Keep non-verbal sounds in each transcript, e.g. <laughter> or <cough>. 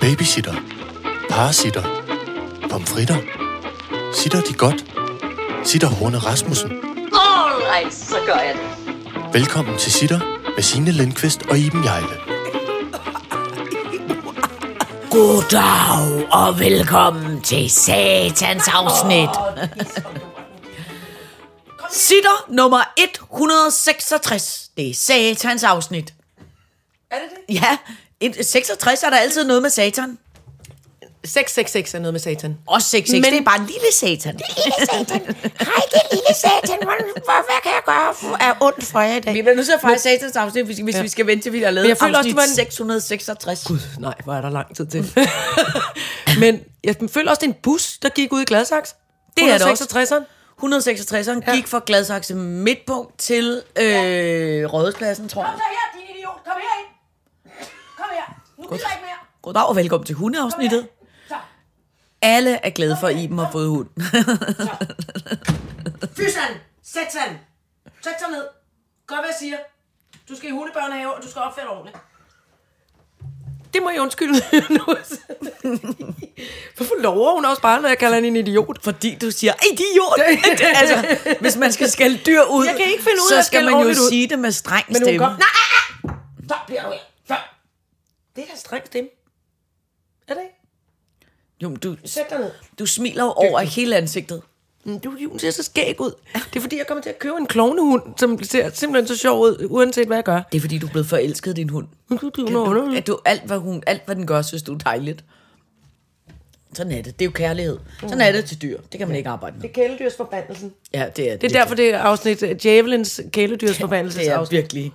Babysitter. Parasitter. Pomfritter. Sitter de godt? Sitter Horne Rasmussen. Alright, så gør jeg det. Velkommen til Sitter med Signe Lindqvist og Iben Jejle. Goddag og velkommen til satans afsnit. Sitter nummer 166. Det er satans afsnit. Er det det? Ja, et- 66 er der altid noget med satan. 666 er noget med satan. Også 66, Men... Men- det er bare en lille satan. Hej, det lille satan. Hvor, hvad kan jeg gøre for, er ondt for jer i dag? Vi bliver nødt til at fejre satans afsnit, hvis, hvis ja. vi skal vente til, vi har lavet jeg føler også, afsnit det var en- 666. Gud. Nej, hvor er der lang tid til. Mm. <laughs> Men jeg føler også, det er en bus, der gik ud i Gladsaxe. Det er det også. 166'eren. 166'eren ja. gik fra Gladsaxe midtpunkt til øh, ja. Rådhuspladsen, tror jeg. Kom så her, din idiot. Kom her ind. Kom her. Nu gider jeg ikke mere. Goddag og velkommen til hundeafsnittet. Alle er glade for, at Iben har fået hund. Fysan, sæt sig ned. Sæt sig ned. Gør, hvad jeg siger. Du skal i hundebørnehave, og du skal opføre dig ordentligt. Det må jeg undskylde <laughs> <laughs> nu. Hvorfor lover hun også bare, når jeg kalder hende en idiot? Fordi du siger, <laughs> idiot! altså, hvis man skal skælde dyr ud, Jeg kan ikke finde ud af så at skal skælde man jo ordentligt ud. sige det med streng Men hun stemme. går, nej, ah, Så bliver du her. Så. det er da streng stemme. Er det ikke? Jo, men du, Sæt dig ned. du smiler jo over hele ansigtet. Mm, Du, hun ser så skæg ud. Det er fordi, jeg kommer til at købe en klovnehund, som ser simpelthen så sjov ud, uanset hvad jeg gør. Det er fordi, du er blevet forelsket i din hund. Men du- du- Du- hun er At du, alt, hvad hun, alt, hvad den gør, synes du er dejligt. Sådan er det. Det er jo kærlighed. Sådan er det til dyr. Det kan man ikke arbejde med. Det er kæledyrsforbandelsen. Ja, det er Det er derfor, det er afsnit øh, Djævelens kæledyrsforbandelsesafsnit. Det er virkelig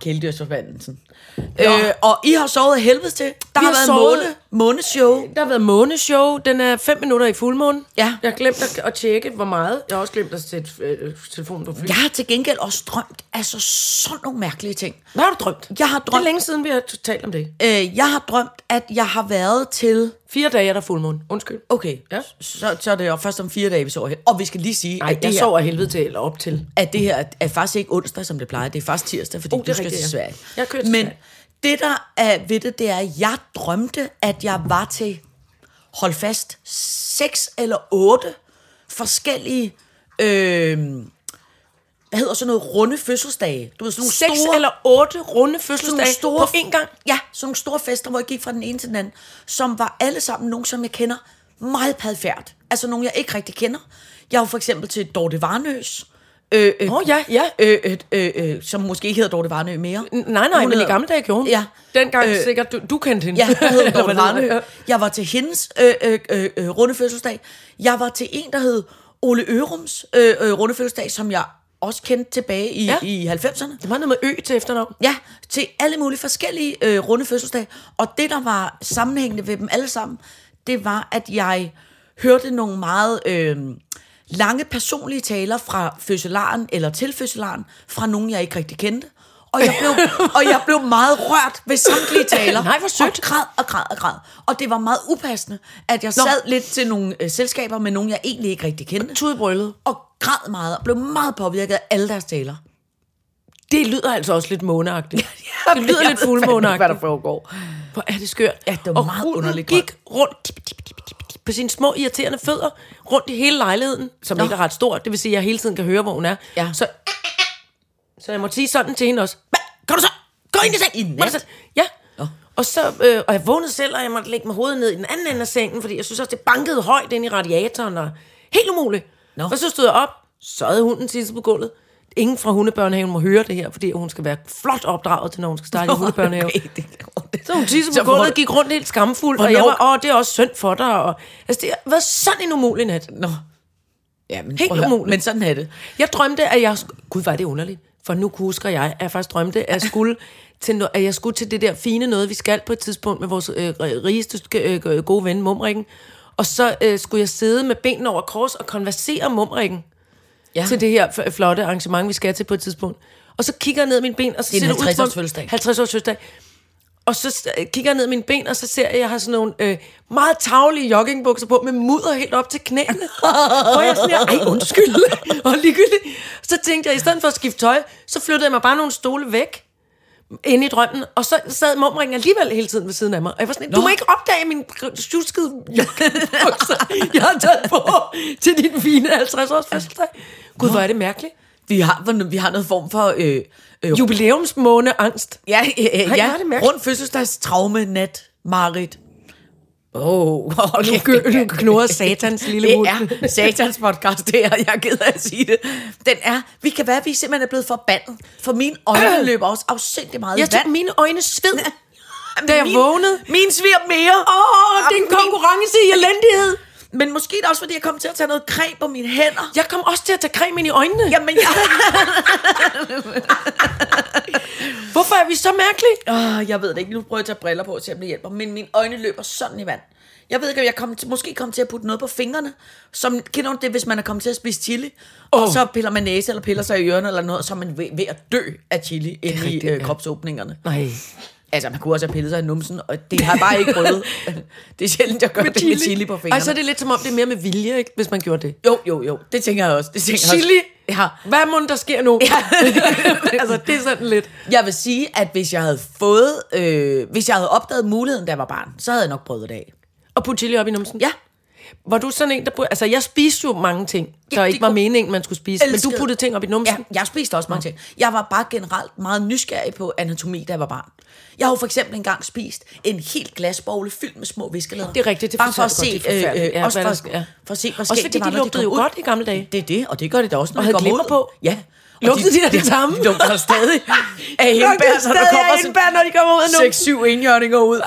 kæledyrsforbandelsen. Øh, og I har sovet af helvede til. Der har, Øh, har været sovet- måne, måneshow. Der har været måneshow. Den er 5 minutter i fuldmåne. Ja. Jeg har glemt at, at tjekke, hvor meget. Jeg har også glemt at sætte øh, telefonen på fly. Jeg har til gengæld også drømt altså sådan nogle mærkelige ting. Hvad har du drømt? Jeg har Det er drømt, længe siden, vi har talt om det. øh, jeg har drømt at jeg har været til... Fire dage er der fuldmåne. Undskyld. Okay, Ja. så, så er det jo først om fire dage, vi sover hen. Og vi skal lige sige, Nej, at, det jeg her, sover af helvede til, eller op til. at det her er faktisk ikke onsdag, som det plejer. Det er faktisk tirsdag, fordi Oh, oh, det du er skal rigtigt, til ja. Sverige. Jeg kører til Men Sverige. det, der er ved det, det er, at jeg drømte, at jeg var til, hold fast, seks eller otte forskellige... Øh, hvad hedder sådan noget runde fødselsdage? Du ved, sådan nogle Seks store, eller otte runde sådan nogle fødselsdage store, på én gang. Ja, sådan nogle store fester, hvor jeg gik fra den ene til den anden, som var alle sammen nogen, som jeg kender meget padfærd. Altså nogen, jeg ikke rigtig kender. Jeg var for eksempel til Dorte Varnøs. Øh, øh, Åh, oh, ja, ja. øh, øh, øh, øh, som måske ikke hedder Dorte Varnø mere. Nej, nej, men i gamle dage gjorde hun. Ja. Dengang Øh, øh, sikkert, du, du kendte hende. Ja, hun hedder Eller Dorte <laughs> hvad det hedder. Varnø. Jeg var til hendes øh, øh, øh, øh, runde fødselsdag. Jeg var til en, der hed Ole Ørums øh, øh, runde fødselsdag, som jeg også kendte tilbage i, ja. Ja. i 90'erne. Det var noget med ø til efternavn. Ja, til alle mulige forskellige øh, runde fødselsdage. Og det, der var sammenhængende ved dem alle sammen, det var, at jeg hørte nogle meget øh, lange personlige taler fra fødselaren, eller til fødselaren, fra nogen, jeg ikke rigtig kendte. Og jeg <laughs> blev, og jeg blev meget rørt ved samtlige taler. Nej, hvor sødt. Og græd og græd og græd. Og det var meget upassende, at jeg Nå. sad lidt til nogle øh, selskaber med nogen, jeg egentlig ikke rigtig kendte. Tudebrøllet. Og græd meget, og blev meget påvirket af alle deres taler. Det lyder altså også lidt <laughs> <laughs> måneagtigt. ja, det men jeg lyder ved lidt fandme ikke, fuldmåneagtigt. hvad der foregår. Hvor er det skørt. Ja, det var og meget hunden underligt gik rundt dip, dip, dip, dip, dip, på sine små irriterende fødder, rundt i hele lejligheden, som Nå. Nå. ikke er ret stor. Det vil sige, at jeg hele tiden kan høre, hvor hun er. Ja. Så, så jeg måtte sige sådan til hende også. Hvad? Kan du så? Gå ind i sengen! Må jeg så- Ja. Og, så, øh, og jeg vågnede selv, og jeg måtte lægge mig hovedet ned i den anden ende af sengen, fordi jeg synes også, det bankede højt ind i radiatoren, og helt umuligt. Nå. Og så stod jeg op, så havde hunden tisset på gulvet. Ingen fra hundebørnehaven må høre det her, fordi hun skal være flot opdraget til, når hun skal starte <laughs> i hundebørnehave. Okay, det- Så hun tissede Så på gulvet, hvor- gik rundt helt skamfuld, og jeg Hvornår- var, åh, det er også synd for dig. Og, altså, det var sådan en umulig nat. Nå. Ja, men Helt prøv at høre, umuligt. Men sådan er det. Jeg drømte, at jeg... sk- Gud, var det underligt. For nu husker jeg, at jeg faktisk drømte, at jeg skulle til, no- at jeg skulle til det der fine noget, vi skal på et tidspunkt med vores øh, ri- rigeste øh, øh, gode ven, Mumrikken. Og så øh, skulle jeg sidde med benene over kors og konversere om Mumrikken Ja. ja. til det <laughs> her f- flotte arrangement, vi skal til på et tidspunkt. Og så kigger jeg ned i mine ben, og så Det er ser en det ud som... 50-års fødselsdag. 50 års fødselsdag. Og så s- øh, kigger jeg ned i mine ben, og så ser jeg, at jeg har sådan nogle øh, meget tavlige joggingbukser på, med mudder helt op til <laughs> knæene. og jeg er sådan her, ej undskyld, <laughs> og ligegyldigt. Så tænkte jeg, i stedet for at skifte tøj, så flyttede jeg mig bare nogle stole væk. inde i drømmen, og så sad mumringen alligevel hele tiden ved siden af mig. Og jeg var sådan, du må ikke opdage min gr- sjuskede joggingbukser, Altså, jeg har taget på til din fine 50-års fødselsdag. Gud, hvor er det mærkeligt. Vi har, vi har noget form for... Øh, øh, Jubilæumsmåne angst. Ja, ja, ja, Ej, hvor ja. er det mærkeligt. rundt fødselsdags traume nat, Marit. Åh, oh, nu, gø- nu knurrer satans lille mund. Det er satans podcast, det her. Jeg er ked af at sige det. Den er, vi kan være, at vi simpelthen er blevet forbandet. For mine <clears throat> øjne løber også afsindig meget i Jeg vand. tog mine øjne sved, da jeg Min- vågnede. Min sviger mere. Åh, det er en konkurrence i elendighed. Men måske er det også, fordi jeg kom til at tage noget creme på mine hænder. Jeg kom også til at tage creme ind i øjnene. Ja. Jamen, jeg, Hvorfor er vi så mærkelige? Åh, jeg ved det ikke. Nu prøver jeg at tage briller på, og se om det hjælper. Men mine øjne løber sådan i vand. Jeg ved ikke, om jeg kom til, måske kom til at putte noget på fingrene. Som, kender du det, hvis man er kommet til at spise chili? Oh. Og så piller man næse, eller piller sig i ørerne, eller noget, så er man ved, ved at dø af chili inde i rigtigt, øh, ja. kropsåbningerne. Nej. Altså, man kunne også have pillet sig i numsen, og det har jeg bare ikke prøvet. <laughs> det er sjældent, jeg gør med det chili. med chili på fingrene. Ej, så er det lidt som om, det er mere med vilje, ikke, hvis man gjorde det. Jo, jo, jo. Det tænker jeg også. Det tænker Chili? Jeg også. Ja. <laughs> Hvad må der sker nu? <laughs> Ja. altså, det er sådan lidt. Jeg vil sige, at hvis jeg havde fået, øh, hvis jeg havde opdaget muligheden, da jeg var barn, så havde jeg nok prøvet det af. Og putte chili op i numsen. Ja. Var du sådan en, der... brød- Altså, jeg spiste jo mange ting, der ikke var kunne- meningen, man skulle spise. Men Elskede. du puttede ting op i numsen. Ja, jeg spiste også mange ting. Jeg var bare generelt meget nysgerrig på anatomi, da jeg var barn. Jeg har jo for eksempel engang spist en helt glasbogle fyldt med små viskelader. Det er rigtigt, det bare for at forstår jeg se, godt, det er øh, øh, forfærdeligt. Ja, også hvad der for, sker. ja. for at se, hvor Også skægt fordi det var, de når lugtede kom jo ud. godt i gamle dage. Det er det, og det gør det da også, når Og de havde kommer glimmer ud. på. Ja. Og Lugtede de da <laughs> det samme? De lugter stadig af hindbær, når der kommer sådan når de kommer ud af numsen. 6-7 indjørninger ud.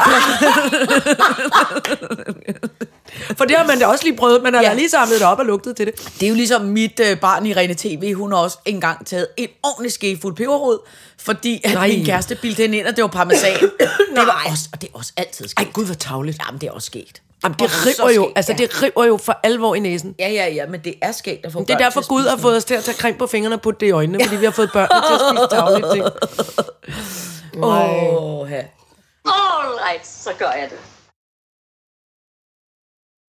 For det har man da også lige prøvet. Man har Ja. da lige samlet det op og lugtet til det. Det er jo ligesom mit øh, barn i Rene TV, hun har også engang taget en ordentlig skefuld peberrod, fordi at Nej. min kæreste bildte hende ind, og det var <coughs> parmesan. det var Nej. også, og det er også altid Ej, sket. gud, hvor tavligt. Jamen, det er også sket. Jamen, det Og så river jo, skægt, altså, ja. det river jo for alvor i næsen. Ja, ja, ja, men det er sket at få Det er børn derfor til at Gud spise har fået os til at tage creme på fingrene og putte det i øjnene, fordi vi har fået børnene til at <laughs> spise tavlige ting. noget. Åh, ja. All right, så gør jeg det.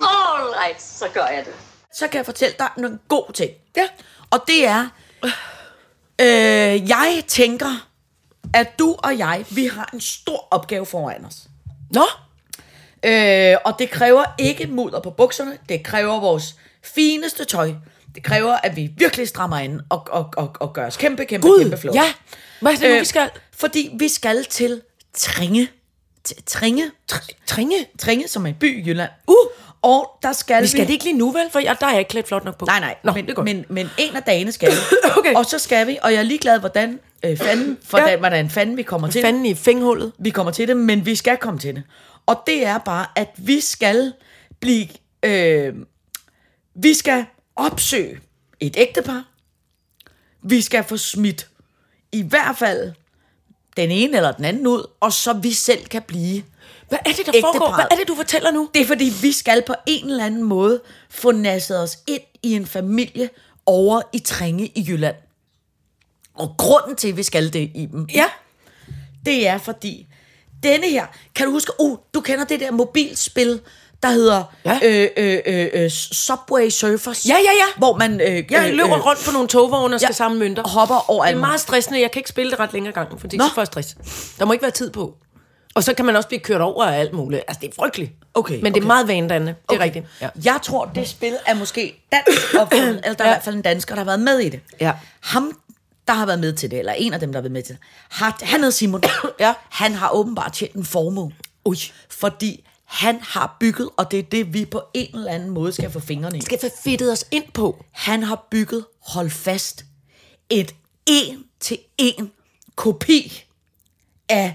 All right, så gør jeg det. Så kan jeg fortælle dig en god ting. Ja. Og det er, øh, jeg tænker, at du og jeg, vi har en stor opgave foran os. Nå, Øh, og det kræver ikke mudder på bukserne, det kræver vores fineste tøj. Det kræver, at vi virkelig strammer ind og, og, og, og gør os kæmpe, kæmpe, Gud, kæmpe Øh. flotte. ja. Hvad er det nu, vi skal? Fordi vi skal til Tringe. T- Tringe? Tr- Tringe. Tringe, som er en by i Jylland. Uh. Og der skal Vi skal det ikke lige nu, vel? For jeg, der er jeg ikke klædt flot nok på. Nej, nej, Nå, men, det er godt. men, men en af dagene skal vi. <laughs> Okay. Og så skal vi, og jeg er ligeglad, hvordan, øh, fanden, hvordan, Ja. hvordan fanden vi kommer til det. Fanden i fænghullet. vi kommer til det, men vi skal komme til det. Og det er bare, at vi skal blive... Øh, vi skal opsøge et ægtepar. Vi skal få smidt i hvert fald den ene eller den anden ud, og så vi selv kan blive. Hvad er det, der Ægteparret. foregår? Hvad er det, du fortæller nu? Det er fordi, vi skal på en eller anden måde få nasset os ind i en familie over i Trænge i Jylland. Og grunden til, at vi skal det, Iben, Ja. det er fordi, denne her, kan du huske, uh, du kender det der mobilspil, der hedder ja. Ja. øh, øh, øh, øh, Subway Surfers. Ja, ja, ja. Hvor man øh, Jeg øh, løber øh, rundt på nogle togvogne og skal samle mønter. hopper over Det er alt meget stressende. Jeg kan ikke spille det ret længere gangen, fordi Nå. så får jeg stress. Der må ikke være tid på. Og så kan man også blive kørt over af alt muligt. Altså, det er frygteligt. Okay, Men det okay. er meget vanedannende. Det er rigtigt. Ja. Jeg tror, det spil er måske dansk <coughs> opfundet, eller der er i hvert fald en dansker, der har været med i det. Ja. Ham, der har været med til det, eller en af dem, der har været med til det, har, han hedder Simon. <coughs> Ja. Han har åbenbart tjent en formue. Ui. Fordi han har bygget, og det er det, vi på en eller anden måde skal få fingrene i. Skal få fedtet os ind på. Han har bygget, hold fast, et en til en kopi af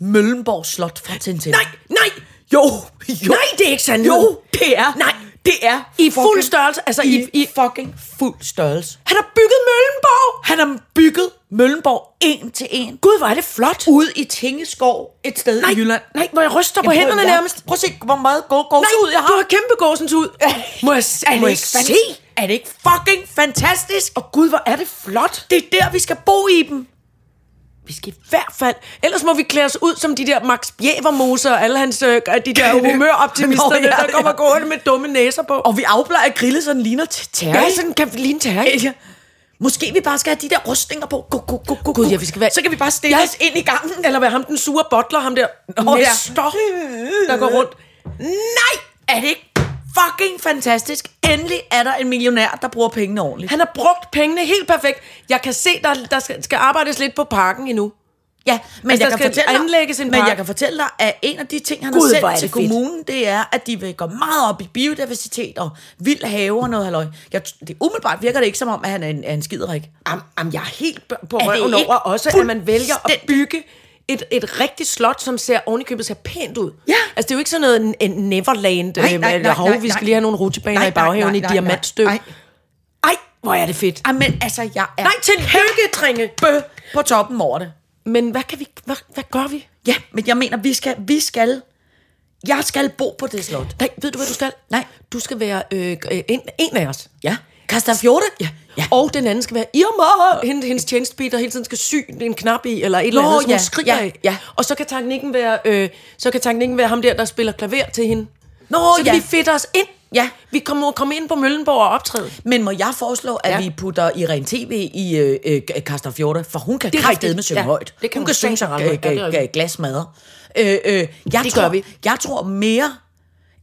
Møllenborg Slot fra Tintin. Nej, nej! Jo, jo. Nej, det er ikke sandt. Jo, det er. Nej. det er. I fuld størrelse, altså i, i, fucking fuld størrelse. Han har bygget Møllenborg! Han har bygget Møllenborg en til en. Gud, hvor er det flot! Ude i Tingeskov, et sted nej, i Jylland. nej, hvor jeg ryster på Jamen, prøv- hænderne jeg- nærmest. Prøv at se, hvor meget gå- gåsehud Nej, jeg har. du har kæmpe gåsens ud. Må jeg, s- Er må det jeg ikke se? se? Er det ikke fucking fantastisk? Og gud, hvor er det flot. Det er der, vi skal bo i dem. Vi skal i hvert fald. Ellers må vi klæde os ud som de der Max Bjævermoser og alle hans, øh, de der humøroptimisterne, Nå, ja, der kommer ja. gående med dumme næser på. Og vi afblejer grillet, så den ligner t- terje. ja, sådan kan vi ligne terje. Ja. Måske vi bare skal have de der rustninger på. Go, go, go, go, Gud, go. ja, vi skal være- Så kan vi bare stille Ja. os ind i gangen. Eller hvad ham den sure bottler, ham der Åh, oh, ja. Nestor, der går rundt. Nej, er det ikke fucking fantastisk? Endelig er der en millionær, der bruger pengene ordentligt. Han har brugt pengene helt perfekt. Jeg kan se, der, der skal, skal arbejdes lidt på parken endnu. Ja, men, Altså, jeg, der kan skal fortælle anlægges en dig, men park. jeg kan fortælle dig, at en af de ting, han Gud, hvor har er sendt til det fedt. kommunen, det er, at de vil gå meget op i biodiversitet og vild have og noget halløj. Jeg, det, umiddelbart virker det ikke som om, at han er en, er en skiderik. Am, am, jeg er helt b- på det røven ikke over også, at man vælger at fuldstændig- bygge et, et rigtigt slot, som ser ovenikøbet ser pænt ud. Ja. Altså, det er jo ikke sådan noget en, en Neverland, øh, Nej, nej, nej, eller hov, nej, vi skal nej. lige have nogle rutsjebaner Nej, i baghaven nej, i nej, nej, diamantstøv. nej. Ej, hvor er det fedt. Ej, men altså, jeg er Nej, tillykke, Trine. bø på toppen over det. Men hvad, kan vi, hvad, hvad gør vi? Ja, men jeg mener, vi skal, vi skal, jeg skal bo på det slot. Nej, ved du, hvad du skal? Nej. Du skal være øh, øh, en, en af os. Ja. Christian Fjorte? Ja. ja. Og den anden skal være Irma, hende, hendes tjenestbil, der hele tiden skal sy en knap i, eller et eller Nå, andet, som ja, hun skriger ja, af. ja. Og så kan teknikken være, øh, så kan teknikken være ham der, der spiller klaver til hende. Nå, så ja. kan vi fedte os ind. Ja. Vi kommer komme ind på Møllenborg og optræde. Men må jeg foreslå, at Ja. ja. vi putter Irene TV i øh, øh, Karsten Fjorte, for hun kan Det er kraftedme rigtigt. synge Ja, ja, højt. det kan hun hun kan synge sig sagtens ret højt. Ja, det er rigtigt. glasmadder. Øh, øh, jeg det tror, gør vi. Jeg tror mere,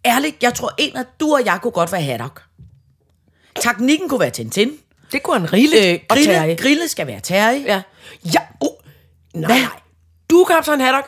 ærligt, jeg tror en af du og jeg kunne godt være Haddock. Teknikken kunne være Tintin. Det kunne han rigeligt. Øh, og grille, Terje. grille skal være Terje. Ja. Ja. Uh. Nej, nej. Du er kaptajn Haddock.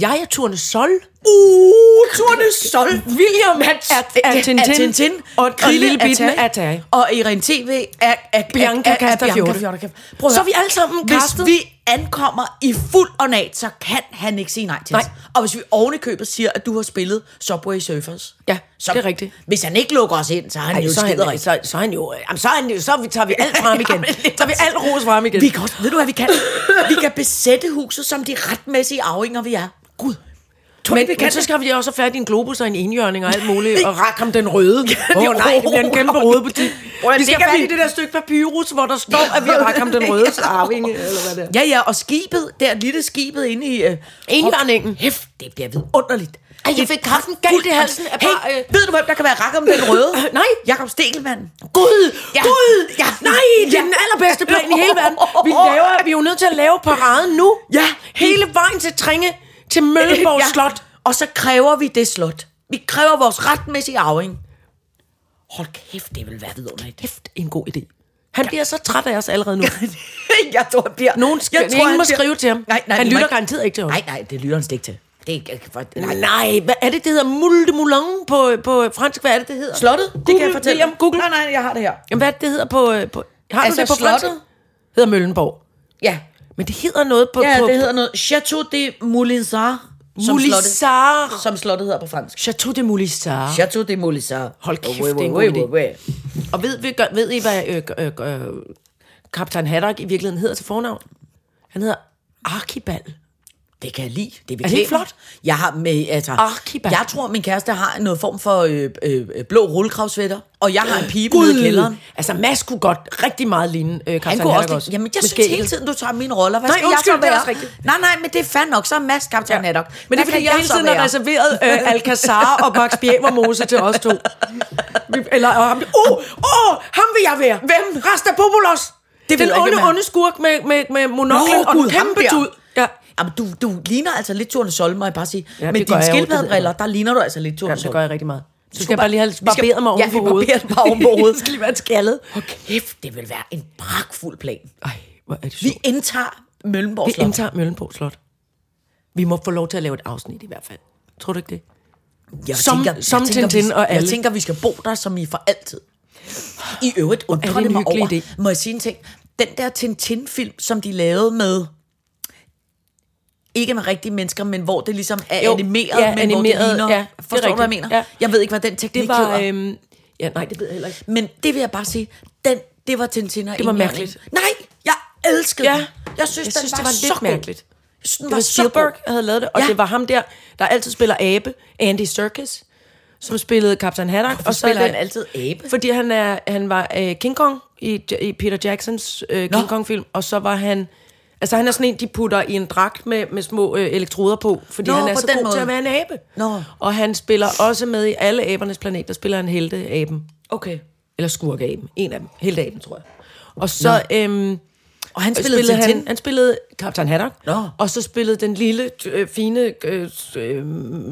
Jeg er Turne Sol. Uh, Turne Sol. William er, er, er Tintin. Er Tintin. Og, og Grille Lille Bitten Terje. er Terje. Og Irene TV er, er Bianca er- er- er Castafiore. Bianca Castafiore. Prøv at Så er høre. vi alle sammen Hvis castet. vi ankommer i fuld ornat, så kan han ikke sige nej til Nej. os. Og hvis vi ovenikøbet siger, at du har spillet Subway Surfers. Ja, så, det er rigtigt. Hvis han ikke lukker os ind, så er han Ej, jo så, er han, skiderig. så, så er han jo... øh, Jamen, så, er han jo, så vi- tager vi alt <laughs> frem igen. Jamen, lige tager vi alt ros frem igen. Vi kan også, ved du hvad vi kan? vi kan besætte huset som de retmæssige arvinger, vi er. Gud. Tror men, men, vi kan men så det? skal vi også have fat i en globus og en enhjørning og alt muligt. Og Rackham den <laughs> røde. Åh oh, nej, det bliver en kæmpe rodebutik. Vi skal det kan have fat vi- i det der stykke papyrus, hvor der står, at vi er Rackham den <laughs> rødes arvinge. Eller hvad det er. Ja, ja, og skibet, der lille skibet inde i... Øh, Enhjørningen. Hæft, det bliver vidunderligt. Ej, jeg fik kraften galt i halsen af Hey, bare, øh, ved du, hvem der kan være rak om den røde? <laughs> Nej. Jakob <laughs> Stegelmann. Gud, Ja. Gud, Ja. nej, det er den allerbedste plan i hele verden. <laughs> Vi, laver, vi er jo nødt til at lave paraden nu. Ja. Hele vejen til Tringe, til Mølleborg ja. Slot. Og så kræver vi det slot. Vi kræver vores retmæssige arving. Hold kæft, det vil være vidunderligt. Kæft, en god idé. Han bliver så træt af os allerede nu. <laughs> jeg tror, han bliver... Nogen skal, jeg tror, ingen han må bliver- skrive til ham. Nej, nej, han det må lytter ikke- garanteret ikke til os. Nej, nej, det lytter han slet ikke til. Det er ikke... For, nej. Nej, hvad er det, det hedder? Mulde Moulin på, på fransk? Hvad er det, det hedder? Slottet, det Google, kan jeg fortælle William, Google. Nej, nej, jeg har det her. Jamen, hvad er det, det hedder på... øh, på har Altså, du det på fransk? slottet? hedder Møllenborg. Ja, Men det hedder noget på... ja på, det hedder noget Chateau de Moulinsard. som slottet- Moulisard. Som slottet hedder på fransk. Chateau de Moulisard. Chateau de Moulinsard. Ah. Hold kæft, Ui, ui, det er en ui, god idé. ui, ui. Og ved, ved, gør- ved I, hvad øh, øh, øh, kaptajn Haddock i virkeligheden hedder til fornavn? Han hedder Archibald. Det kan jeg lide. Det Er det ikke flot? Ah, Jeg har med, altså, Archibald. jeg tror, min kæreste har noget form for øh, øh, øh, blå rullekravsvætter, og jeg har en pibe nede i kælderen. Altså, Mads kunne godt rigtig meget ligne øh, kaptajn Han Haddock kunne også, også. også. Jamen, jeg Med synes hele skægget. tiden, du tager mine roller. Hvad Nej, skal undskyld, jeg så det er være? også rigtigt. Nej, nej, men det er fandme nok. Så er Mads kaptajn Haddock. Men det Hvad er, kan fordi jeg hele så tiden har være? reserveret <laughs> øh, Alcazar og Max Bjervermose til os to. Vi- Eller og ham. Åh, oh, oh, ham vil jeg være. Hvem? Rastapopoulos. Det vil den jeg ikke onde, være. onde skurk med, med, med monoklen Nå, og Gud, den ham kæmpe der. tud. Ja. Jamen, du, du ligner altså lidt Torne Sol, må jeg bare sige. Ja, Ja, det men gør dine jeg jo, det ved skildpaddebriller, jeg. der ligner du altså lidt Torne Jamen, Sol. det gør jeg rigtig meget. Så skal jeg bare lige have barberet mig ja, oven på vi hovedet. barberer dig bare <laughs> oven på hovedet. skal lige være skaldet. Hold kæft, det vil være en pragtfuld plan. Ej, hvor er det sjovt. Vi indtager Møllenborg Vi Slot. indtager Møllenborg Slot. Vi må få lov til at lave et afsnit i hvert fald. Tror du ikke det? Jeg Som- tænker, som jeg tænker, Tintin vi, og Jeg alle. tænker, vi skal bo der som i for altid. I øvrigt er undrer det det, en mig over, hyggelig må jeg sige en ting? Den der Tintin-film, som de lavede med ikke med rigtige mennesker, men hvor det ligesom er Jo, animeret, ja, men hvor animeret, det ligner... ja, det er forstår du, hvad jeg rigtigt, mener? ja. Jeg ved ikke, hvad den teknik Det var... hedder. Øhm, ja, nej, det ved jeg heller ikke. Men det vil jeg bare sige, den, det var Tintin og Det var Enhjørning. mærkeligt. Nej, jeg elskede Ja. den. Jeg synes, Jeg den synes, var, det var lidt så god. mærkeligt. Jeg synes, den Det var så god. Spielberg, der havde lavet det, og ja. Ja. det var ham der, der altid spiller abe, Andy Serkis, som spillede Captain Haddock. Hvorfor spiller er han altid abe? Fordi han, er, han var øh, King Kong i, i Peter Jacksons øh, King Nå. Kong-film, og så var han... Altså han er sådan en, de putter i en dragt med, med små øh, elektroder på, fordi Nå, han er på så den god måde. til at være en abe. Nå. Og han spiller også med i alle abernes planet, der spiller han helteaben. Okay. Eller skurkeaben. En af dem. Helteaben, tror jeg. Og så... Øhm, Og han spillede, spillede spillede, spillede Tintin. han, han spillede Captain Haddock. Nå. Og så spillede den lille, t- øh, fine øh, s- øh,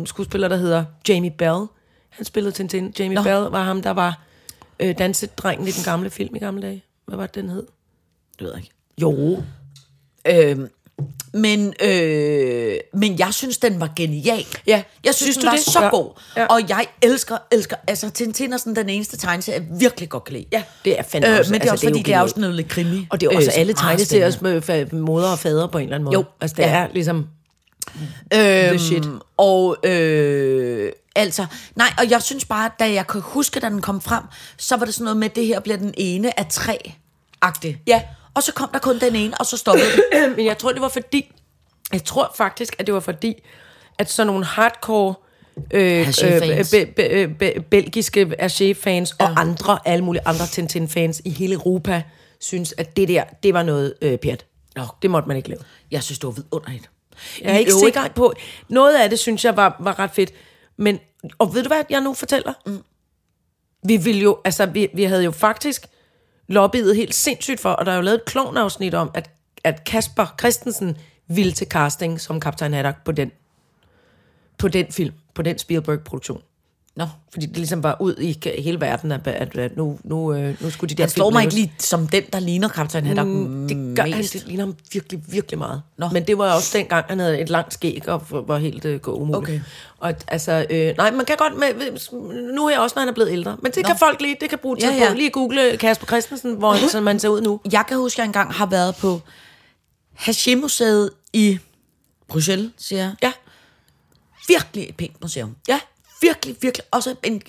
skuespiller, der hedder Jamie Bell. Han spillede Tintin. Jamie Nå. Bell var ham, der var øh, dansedrengen i den gamle film i gamle dage. Hvad var det, den hed? Det ved jeg ikke. Jo. Øhm, men, øh, men jeg synes, den var genial. Ja. Jeg synes, synes Synes den du var det? det? så Ja. god. Ja. Ja. Og jeg elsker, elsker, altså Tintin er sådan den eneste tegneserie, jeg virkelig godt kan lide. Ja, det er fandme Øh, men også- det er altså, også det er fordi, jo det er jo genialt. sådan noget lidt krimi. Og det er jo også så alle meget tegneserier med fa- moder og fader på en eller anden måde. Jo. Altså, det Ja. ja. er ligesom... Øhm, shit. Og øh, altså, nej, og jeg synes bare, da jeg kan huske, da den kom frem, så var det sådan noget med, at det her bliver den ene af tre agte. Ja. Og så kom der kun den ene, og så stoppede det. <clears throat> Men jeg tror, det var fordi... Jeg tror faktisk, at det var fordi, at sådan nogle hardcore... Øh, øh, Hergé-fans. be, be, be, belgiske Hergé-fans ja. og andre, alle mulige andre Tintin-fans i hele Europa, synes, at det der, det var noget øh, pjat. Nå. Det måtte man ikke lave. Jeg synes, det var vidunderligt. Jeg er I ikke øvrigt- sikker på... Noget af det, synes jeg, var, var ret fedt. Men, og ved du hvad, jeg nu fortæller? Mm. Vi ville jo, altså, vi, vi havde jo faktisk lobbyet helt sindssygt for, og der er jo lavet et klovnafsnit om, at, at Kasper Christensen ville til casting som Kaptajn Haddock på den, på den film, på den Spielberg-produktion. Nå, Fordi det ligesom var ud i ka- hele verden, at, at, at nu, nu, øh, nu skulle de der han slår film mig laves. ikke lige som den, der ligner kaptajn Haddock mm, Det gør han, mest. det ligner ham virkelig, virkelig meget. Nå. Nå. Men det var også dengang, han havde et langt skæg og f- var helt øh, gå umuligt. Okay. Og at- altså, øh, nej, man kan godt med, nu er jeg også, når han er blevet ældre. Men det Nå. kan folk lige, det kan bruge til Ja, ja, ja. ja. Mhm. på. Lige google øh, Kasper Christensen, hvor han, sådan, man ser ud nu. Jeg kan huske, at jeg engang har været på Hashim-museet i Bruxelles, siger jeg. Ja, Virkelig et pænt museum. ja, virkelig, virkelig også en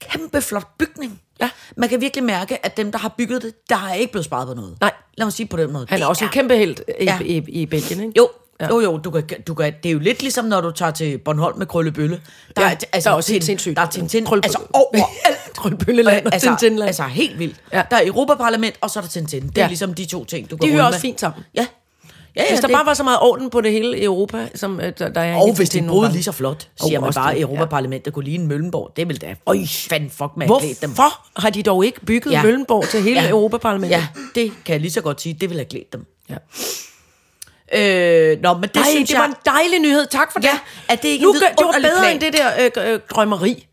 kæmpe flot bygning. Ja. Man kan virkelig mærke, at dem, der har bygget det, der er ikke blevet sparet på noget. Nej. Lad mig sige på den måde. han er Det også en kæmpe held i, Ja. ja. i, i, i Belgien, ikke? Jo, ja. jo, jo, du kan, du kan, det er jo lidt ligesom, når du tager til Bornholm med Krøllebølle. Der, er- Ja, altså, der er også helt Tin- sindssygt. Der er Tintin, Krøllebølle. <laughs> altså overalt. Krøllebølleland og altså, Tintinland. Altså helt vildt. Ja. Ja. Der er Europaparlament, og så er der Tintin. Det er ja. Ja. ligesom de to ting, du går De rundt hører også med. fint sammen. Ja. ja, ja Hvis der det- bare var så meget orden på det hele i Europa, som øh, der, der er og i hvis Tintin de nogle boede gange. lige så flot, siger Og man også bare, at det, ja. Europaparlamentet kunne lige en Møllenborg. Det vil da... Øj, fanden fuck, man klædt dem. Hvorfor har de dog ikke bygget ja. Møllenborg til hele ja. Europaparlamentet? Ja, det kan jeg lige så godt sige. Det ville have glædt dem. Ja. Øh, nå, men det Det Ej, synes det jeg... var en dejlig nyhed. Tak for Ja, det. at det ikke nu, en gør- Det var vidunderlig bedre plan. end det der øh, øh, drømmeri.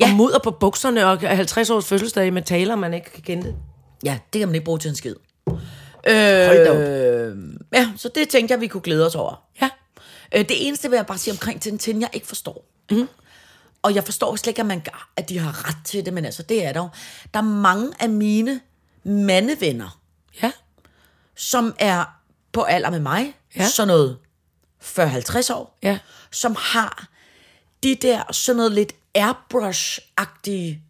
Ja. Ja. Og mudder på bukserne og 50 års fødselsdag med taler, man ikke kan kende. Ja, det kan man ikke bruge til en skid. Øh, Hold da op. Ja, så det tænkte jeg, vi kunne glæde os over. Ja. Øh, det eneste vil jeg bare sige omkring Tintin, jeg ikke forstår. Mm. Mhm. Og jeg forstår slet ikke, at, man, gør- at de har ret til det, men altså, det er der jo. Der er mange af mine mandevenner, Ja. som er på alder med mig, ja. Ja. sådan noget 40-50 år, Ja. som har de der sådan noget lidt airbrush-agtige tegninger,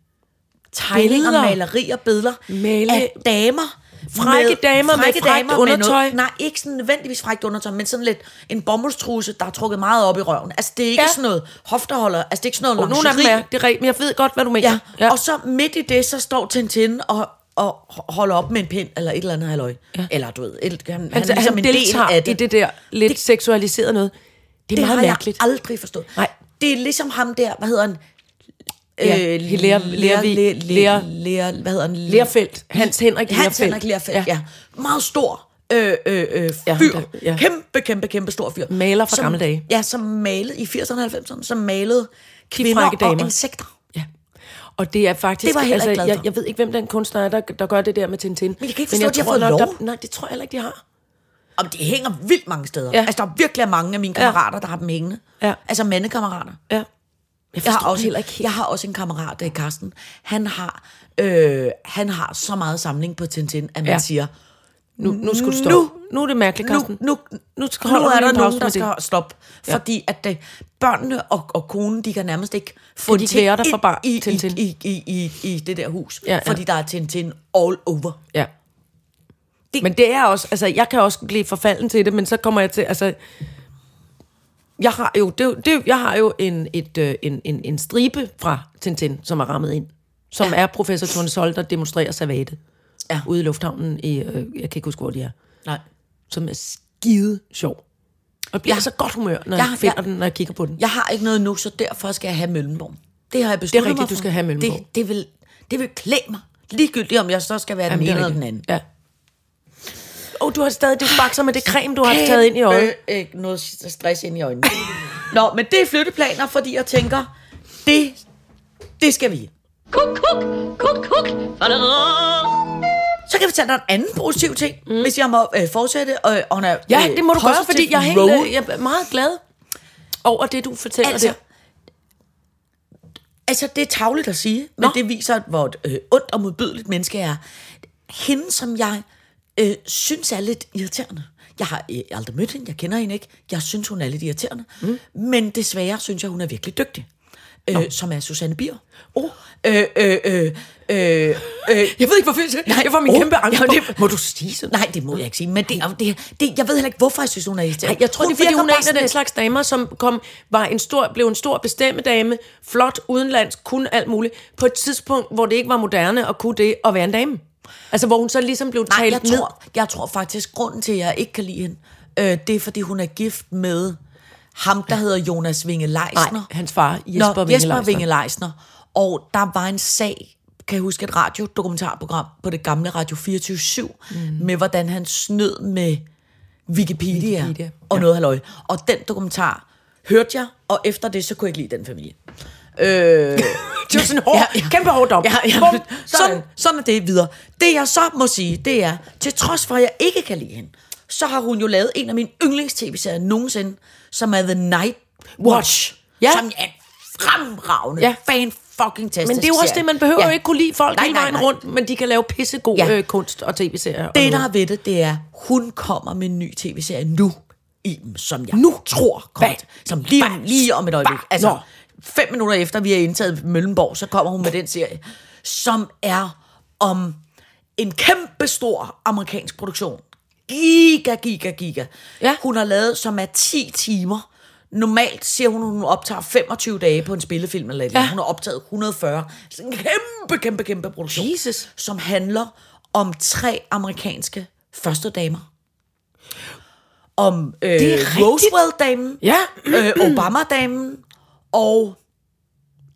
billeder. Billeder. malerier, billeder Male- af damer. Frække damer med frækt undertøj. noget, nej, ikke sådan nødvendigvis frækt undertøj, men sådan lidt en bomuldstruse, der er trukket meget op i røven. Altså, det er ikke ja. Ja. sådan noget hofterholder. Altså, det er ikke sådan noget Og nogle af dem lingerie. er, det er rigtigt, men jeg ved godt, hvad du mener. Ja. ja, og så midt i det, så står Tintin og, og holder op med en pind, eller et eller andet halvøj. Ja. Eller du ved, et, han, han, han, er ligesom Altså, han en del deltager af det. i det der lidt det, seksualiserede noget. Det er det meget har mærkeligt. jeg aldrig forstået. Nej. Det er ligesom ham der, hvad hedder han? Øh, Ja, Hilaire- Lervi- Ler- Ler- Ler- Ler- hvad hedder han? Lerfeldt. Hans Henrik Hans Lerfeldt. Henrik Lerfeldt, ja. Ja. ja. Meget stor øh, øh, øh, fyr. Ja, ham Ja, der, ja. ja. Kæmpe, kæmpe, kæmpe stor fyr. Maler fra som, gamle dage. Ja, som malede i 80'erne og 90'erne, som malede kvinder frække og damer. insekter. Ja. Og det er faktisk... Det var jeg heller altså, ikke glad for. Jeg, jeg ved ikke, hvem den kunstner er, der, der gør det der med Tintin. Men jeg kan ikke forstå, at de har tror fået nok, lov. Der, nej, det tror jeg heller ikke, de har. Om det hænger vildt mange steder. Ja. Ja. Altså, der er virkelig mange af mine kammerater, der har dem hængende. Ja. Altså mandekammerater. Ja. Jeg, Jeg forstår har, det også, heller ikke helt. jeg har også en kammerat, der er Karsten. Han har, øh, han har så meget samling på Tintin, at man ja. Ja. siger, Nu, nu skal du stoppe. Nu- Nu, nu er det mærkeligt, Karsten. nu, nu, nu skal- nu holder er vi der en pause nogen, der med det. skal stoppe. Ja. Fordi at det, børnene og, og konen, de kan nærmest ikke få de ting være der for ind bar- i, i, Tintin? i, i, i, i det der hus. Ja, ja. Fordi der er Tintin all over. Ja. Det, men det er også, altså jeg kan også blive forfalden til det, men så kommer jeg til, altså, jeg har jo, det, er jo- det, er jo- jeg har jo en, et, øh, en, en, en stribe fra Tintin, som er rammet ind, som ja. er professor Tone Sol, der demonstrerer savate Ja. ude i lufthavnen i, øh, jeg kan ikke huske, hvor de er, Nej. som er skide sjov. Og bliver Ja. ja. så godt humør, når Ja, ja, jeg finder ja. ja. den, når jeg kigger på den. Jeg har ikke noget nu, så derfor skal jeg have Møllenborg. Det har jeg besluttet rigtigt, mig du for. skal have Møllenborg. Det, det, vil, det vil klæde mig. Ligegyldigt om jeg så skal være Jamen, den det ene er eller den rigtigt. anden. Ja. Åh, oh, du har stadig du bakser med det creme, du har taget ind i øjet. Øh, øh, noget stress ind i øjnene. Nå, men det er flytteplaner, fordi jeg tænker, det, det skal vi. Kuk, kuk, kuk, kuk. Så kan jeg fortælle dig en anden positiv ting, mm. hvis jeg må øh, fortsætte. Øh, on a, Ja, øh, det må du gøre, positive fordi jeg er, helt, roll. øh, jeg er meget glad over det, du fortæller Altså, der. altså, det er tavligt at sige, men Nå. det viser, hvor et øh, ondt og modbydeligt menneske jeg er. Hende, som jeg øh, synes er lidt irriterende. Jeg har øh, aldrig mødt hende, jeg kender hende ikke. Jeg synes, hun er lidt irriterende. Mm. Men desværre synes jeg, hun er virkelig dygtig. Øh, som er Susanne Bier. Oh. Øh, øh, øh, øh, øh, Jeg ved ikke, hvorfor jeg siger det. Jeg får min Åh, kæmpe angst ja, på. det- Må du sige sådan? oh, Nej, det må jeg ikke sige. Men det, det, det, jeg ved heller ikke, hvorfor jeg synes, hun er irriterende. Nej, jeg tror, hun det er, fordi virker hun er bare en sådan af den lidt- slags damer, som kom, var en stor, blev en stor bestemmedame, flot, udenlands, kun alt muligt, på et tidspunkt, hvor det ikke var moderne at kunne det at være en dame. Altså, hvor hun så ligesom blev Nej, talt jeg ned. tror, jeg tror faktisk, grunden til, at jeg ikke kan lide hende, øh, det er, fordi hun er gift med ham, der hedder Jonas Vinge Leisner. Nej, hans far, Jesper Winge Jesper Leisner. Vinge Leisner. Og der var en sag, kan jeg huske, et radiodokumentarprogram på det gamle Radio 24-7, Mhm. mm. med hvordan han snød med Wikipedia, Wikipedia, Wikipedia. og noget halløj. Og den dokumentar hørte jeg, og efter det, så kunne jeg ikke lide den familie. Det var sådan en hård, ja, Ja, ja. ja. kæmpe hård dom. Ja, ja. Bum, Sådan, sådan er det videre. Det jeg så må sige, det er, til trods for, at jeg ikke kan lide hende, så har hun jo lavet en af mine yndlings-tv-serier nogensinde, som er The Night Watch. Ja. Som er en fremragende, Ja. ja. fan fucking tastisk Men det er jo også det, man behøver ja. ikke kunne lide folk nej, hele vejen nej. rundt, men de kan lave pissegod ja. Ja. øh, kunst og tv-serier. og Det, der noget. er ved det, det er, hun kommer med en ny tv-serie nu, Iben, som jeg nu tror kommer Bang. til- Som lige, om, Bang. lige om et øjeblik. Bang. Altså, Nå. fem minutter efter, vi har indtaget Møllenborg, så kommer hun med den serie, som er om en kæmpe stor amerikansk produktion. Giga, giga, giga. Ja. Hun har lavet, som er 10 timer. Normalt siger hun, at hun optager 25 dage på en spillefilm eller ja. Ja. Hun har optaget 140. Så en kæmpe, kæmpe, kæmpe produktion Jesus. som handler om tre amerikanske førstedamer. Om øh, er rigtigt. Mm. Roosevelt-damen, Ja, øh, Obama-damen, og...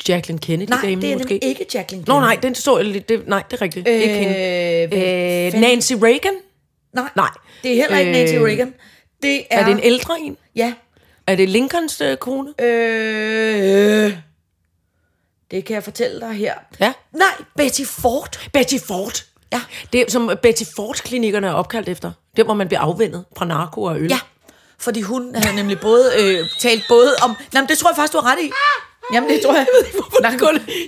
Jacqueline Kennedy Nej, dame det er måske. måske. ikke Jacqueline Nå Kennedy. nej, den så jeg lidt. Det, nej, det er rigtigt. Øh, ikke hende. Øh, hvem Øh, fanden- Nancy Reagan? nej, nej. det er heller ikke Øh, Nancy Reagan. Det er... Er det en ældre en? Ja. Er det Lincolns øh, kone? Øh, det kan jeg fortælle dig her. Ja. Nej, Betty Ford. Betty Ford. Ja. Det er, som øh, Betty Ford-klinikkerne er opkaldt efter. Der, hvor man bliver afvendet fra narko og øl. Ja, fordi hun havde nemlig både øh, talt både om... Jamen, det tror jeg faktisk, du har ret i. Jamen, det tror jeg. Nå,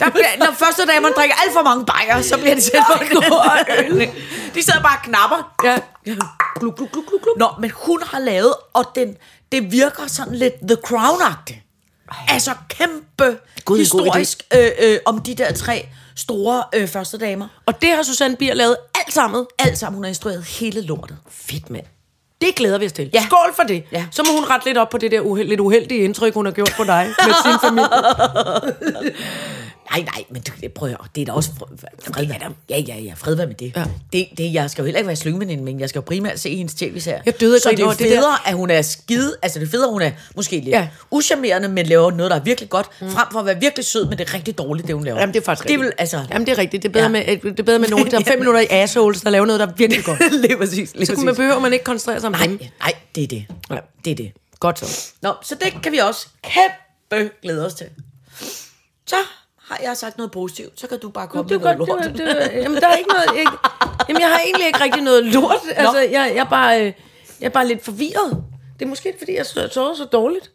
der bliver, når første dag, man drikker alt for mange bajer, så bliver <laughs> det selv <laughs> De sidder bare og knapper. Ja. Gluk, gluk, gluk, gluk, gluk. Nå, men hun har lavet, og den, det virker sådan lidt The Crown-agtigt. Altså kæmpe God God, idé. historisk øh, øh, om de der tre store øh, første damer. Og det har Susanne Bier lavet alt sammen. Alt sammen, hun har instrueret hele lortet. Fedt, mand. Det glæder vi os til. Ja. Skål for det. Ja. Så må hun rette lidt op på det der uheld, lidt uheldige indtryk, hun har gjort på dig <laughs> med sin familie. Nej, nej, men det, prøv at høre, det er da også fred, fred, fred, ja, ja, ja, fred være med det. Ja. det, det jeg skal jo heller ikke være slyngeveninde, men jeg skal jo primært se hendes tv-serier. Jeg døde af Så grin det er over jo det federe, det at hun er skide, altså det er federe, hun er måske lidt Ja. ja. uschammerende, men laver noget, der er virkelig godt, mm. frem for at være virkelig sød, men det er rigtig dårligt, det hun laver. Jamen, det er faktisk Det rigtigt. vil, altså, Jamen, det er rigtigt. Det er bedre, ja. Ja. med, det er bedre med nogen, der <laughs> er fem minutter i assholes, der laver noget, der er virkelig <laughs> godt. <laughs> lige præcis, lige Så kunne man, præcis. behøver man ikke koncentrere sig om Nej, dem. nej, det er det. Ja. Det er det. Godt så. Nå, så det kan vi også kæmpe glæde os til. Så har jeg sagt noget positivt, så kan du bare komme Det er med godt, noget lort. det, det, det, jamen, der er ikke noget... Jeg, jamen, jeg har egentlig ikke rigtig noget lort. Altså, jeg, jeg, er bare, øh, jeg er bare lidt forvirret. Det er måske, fordi jeg so- sover så dårligt.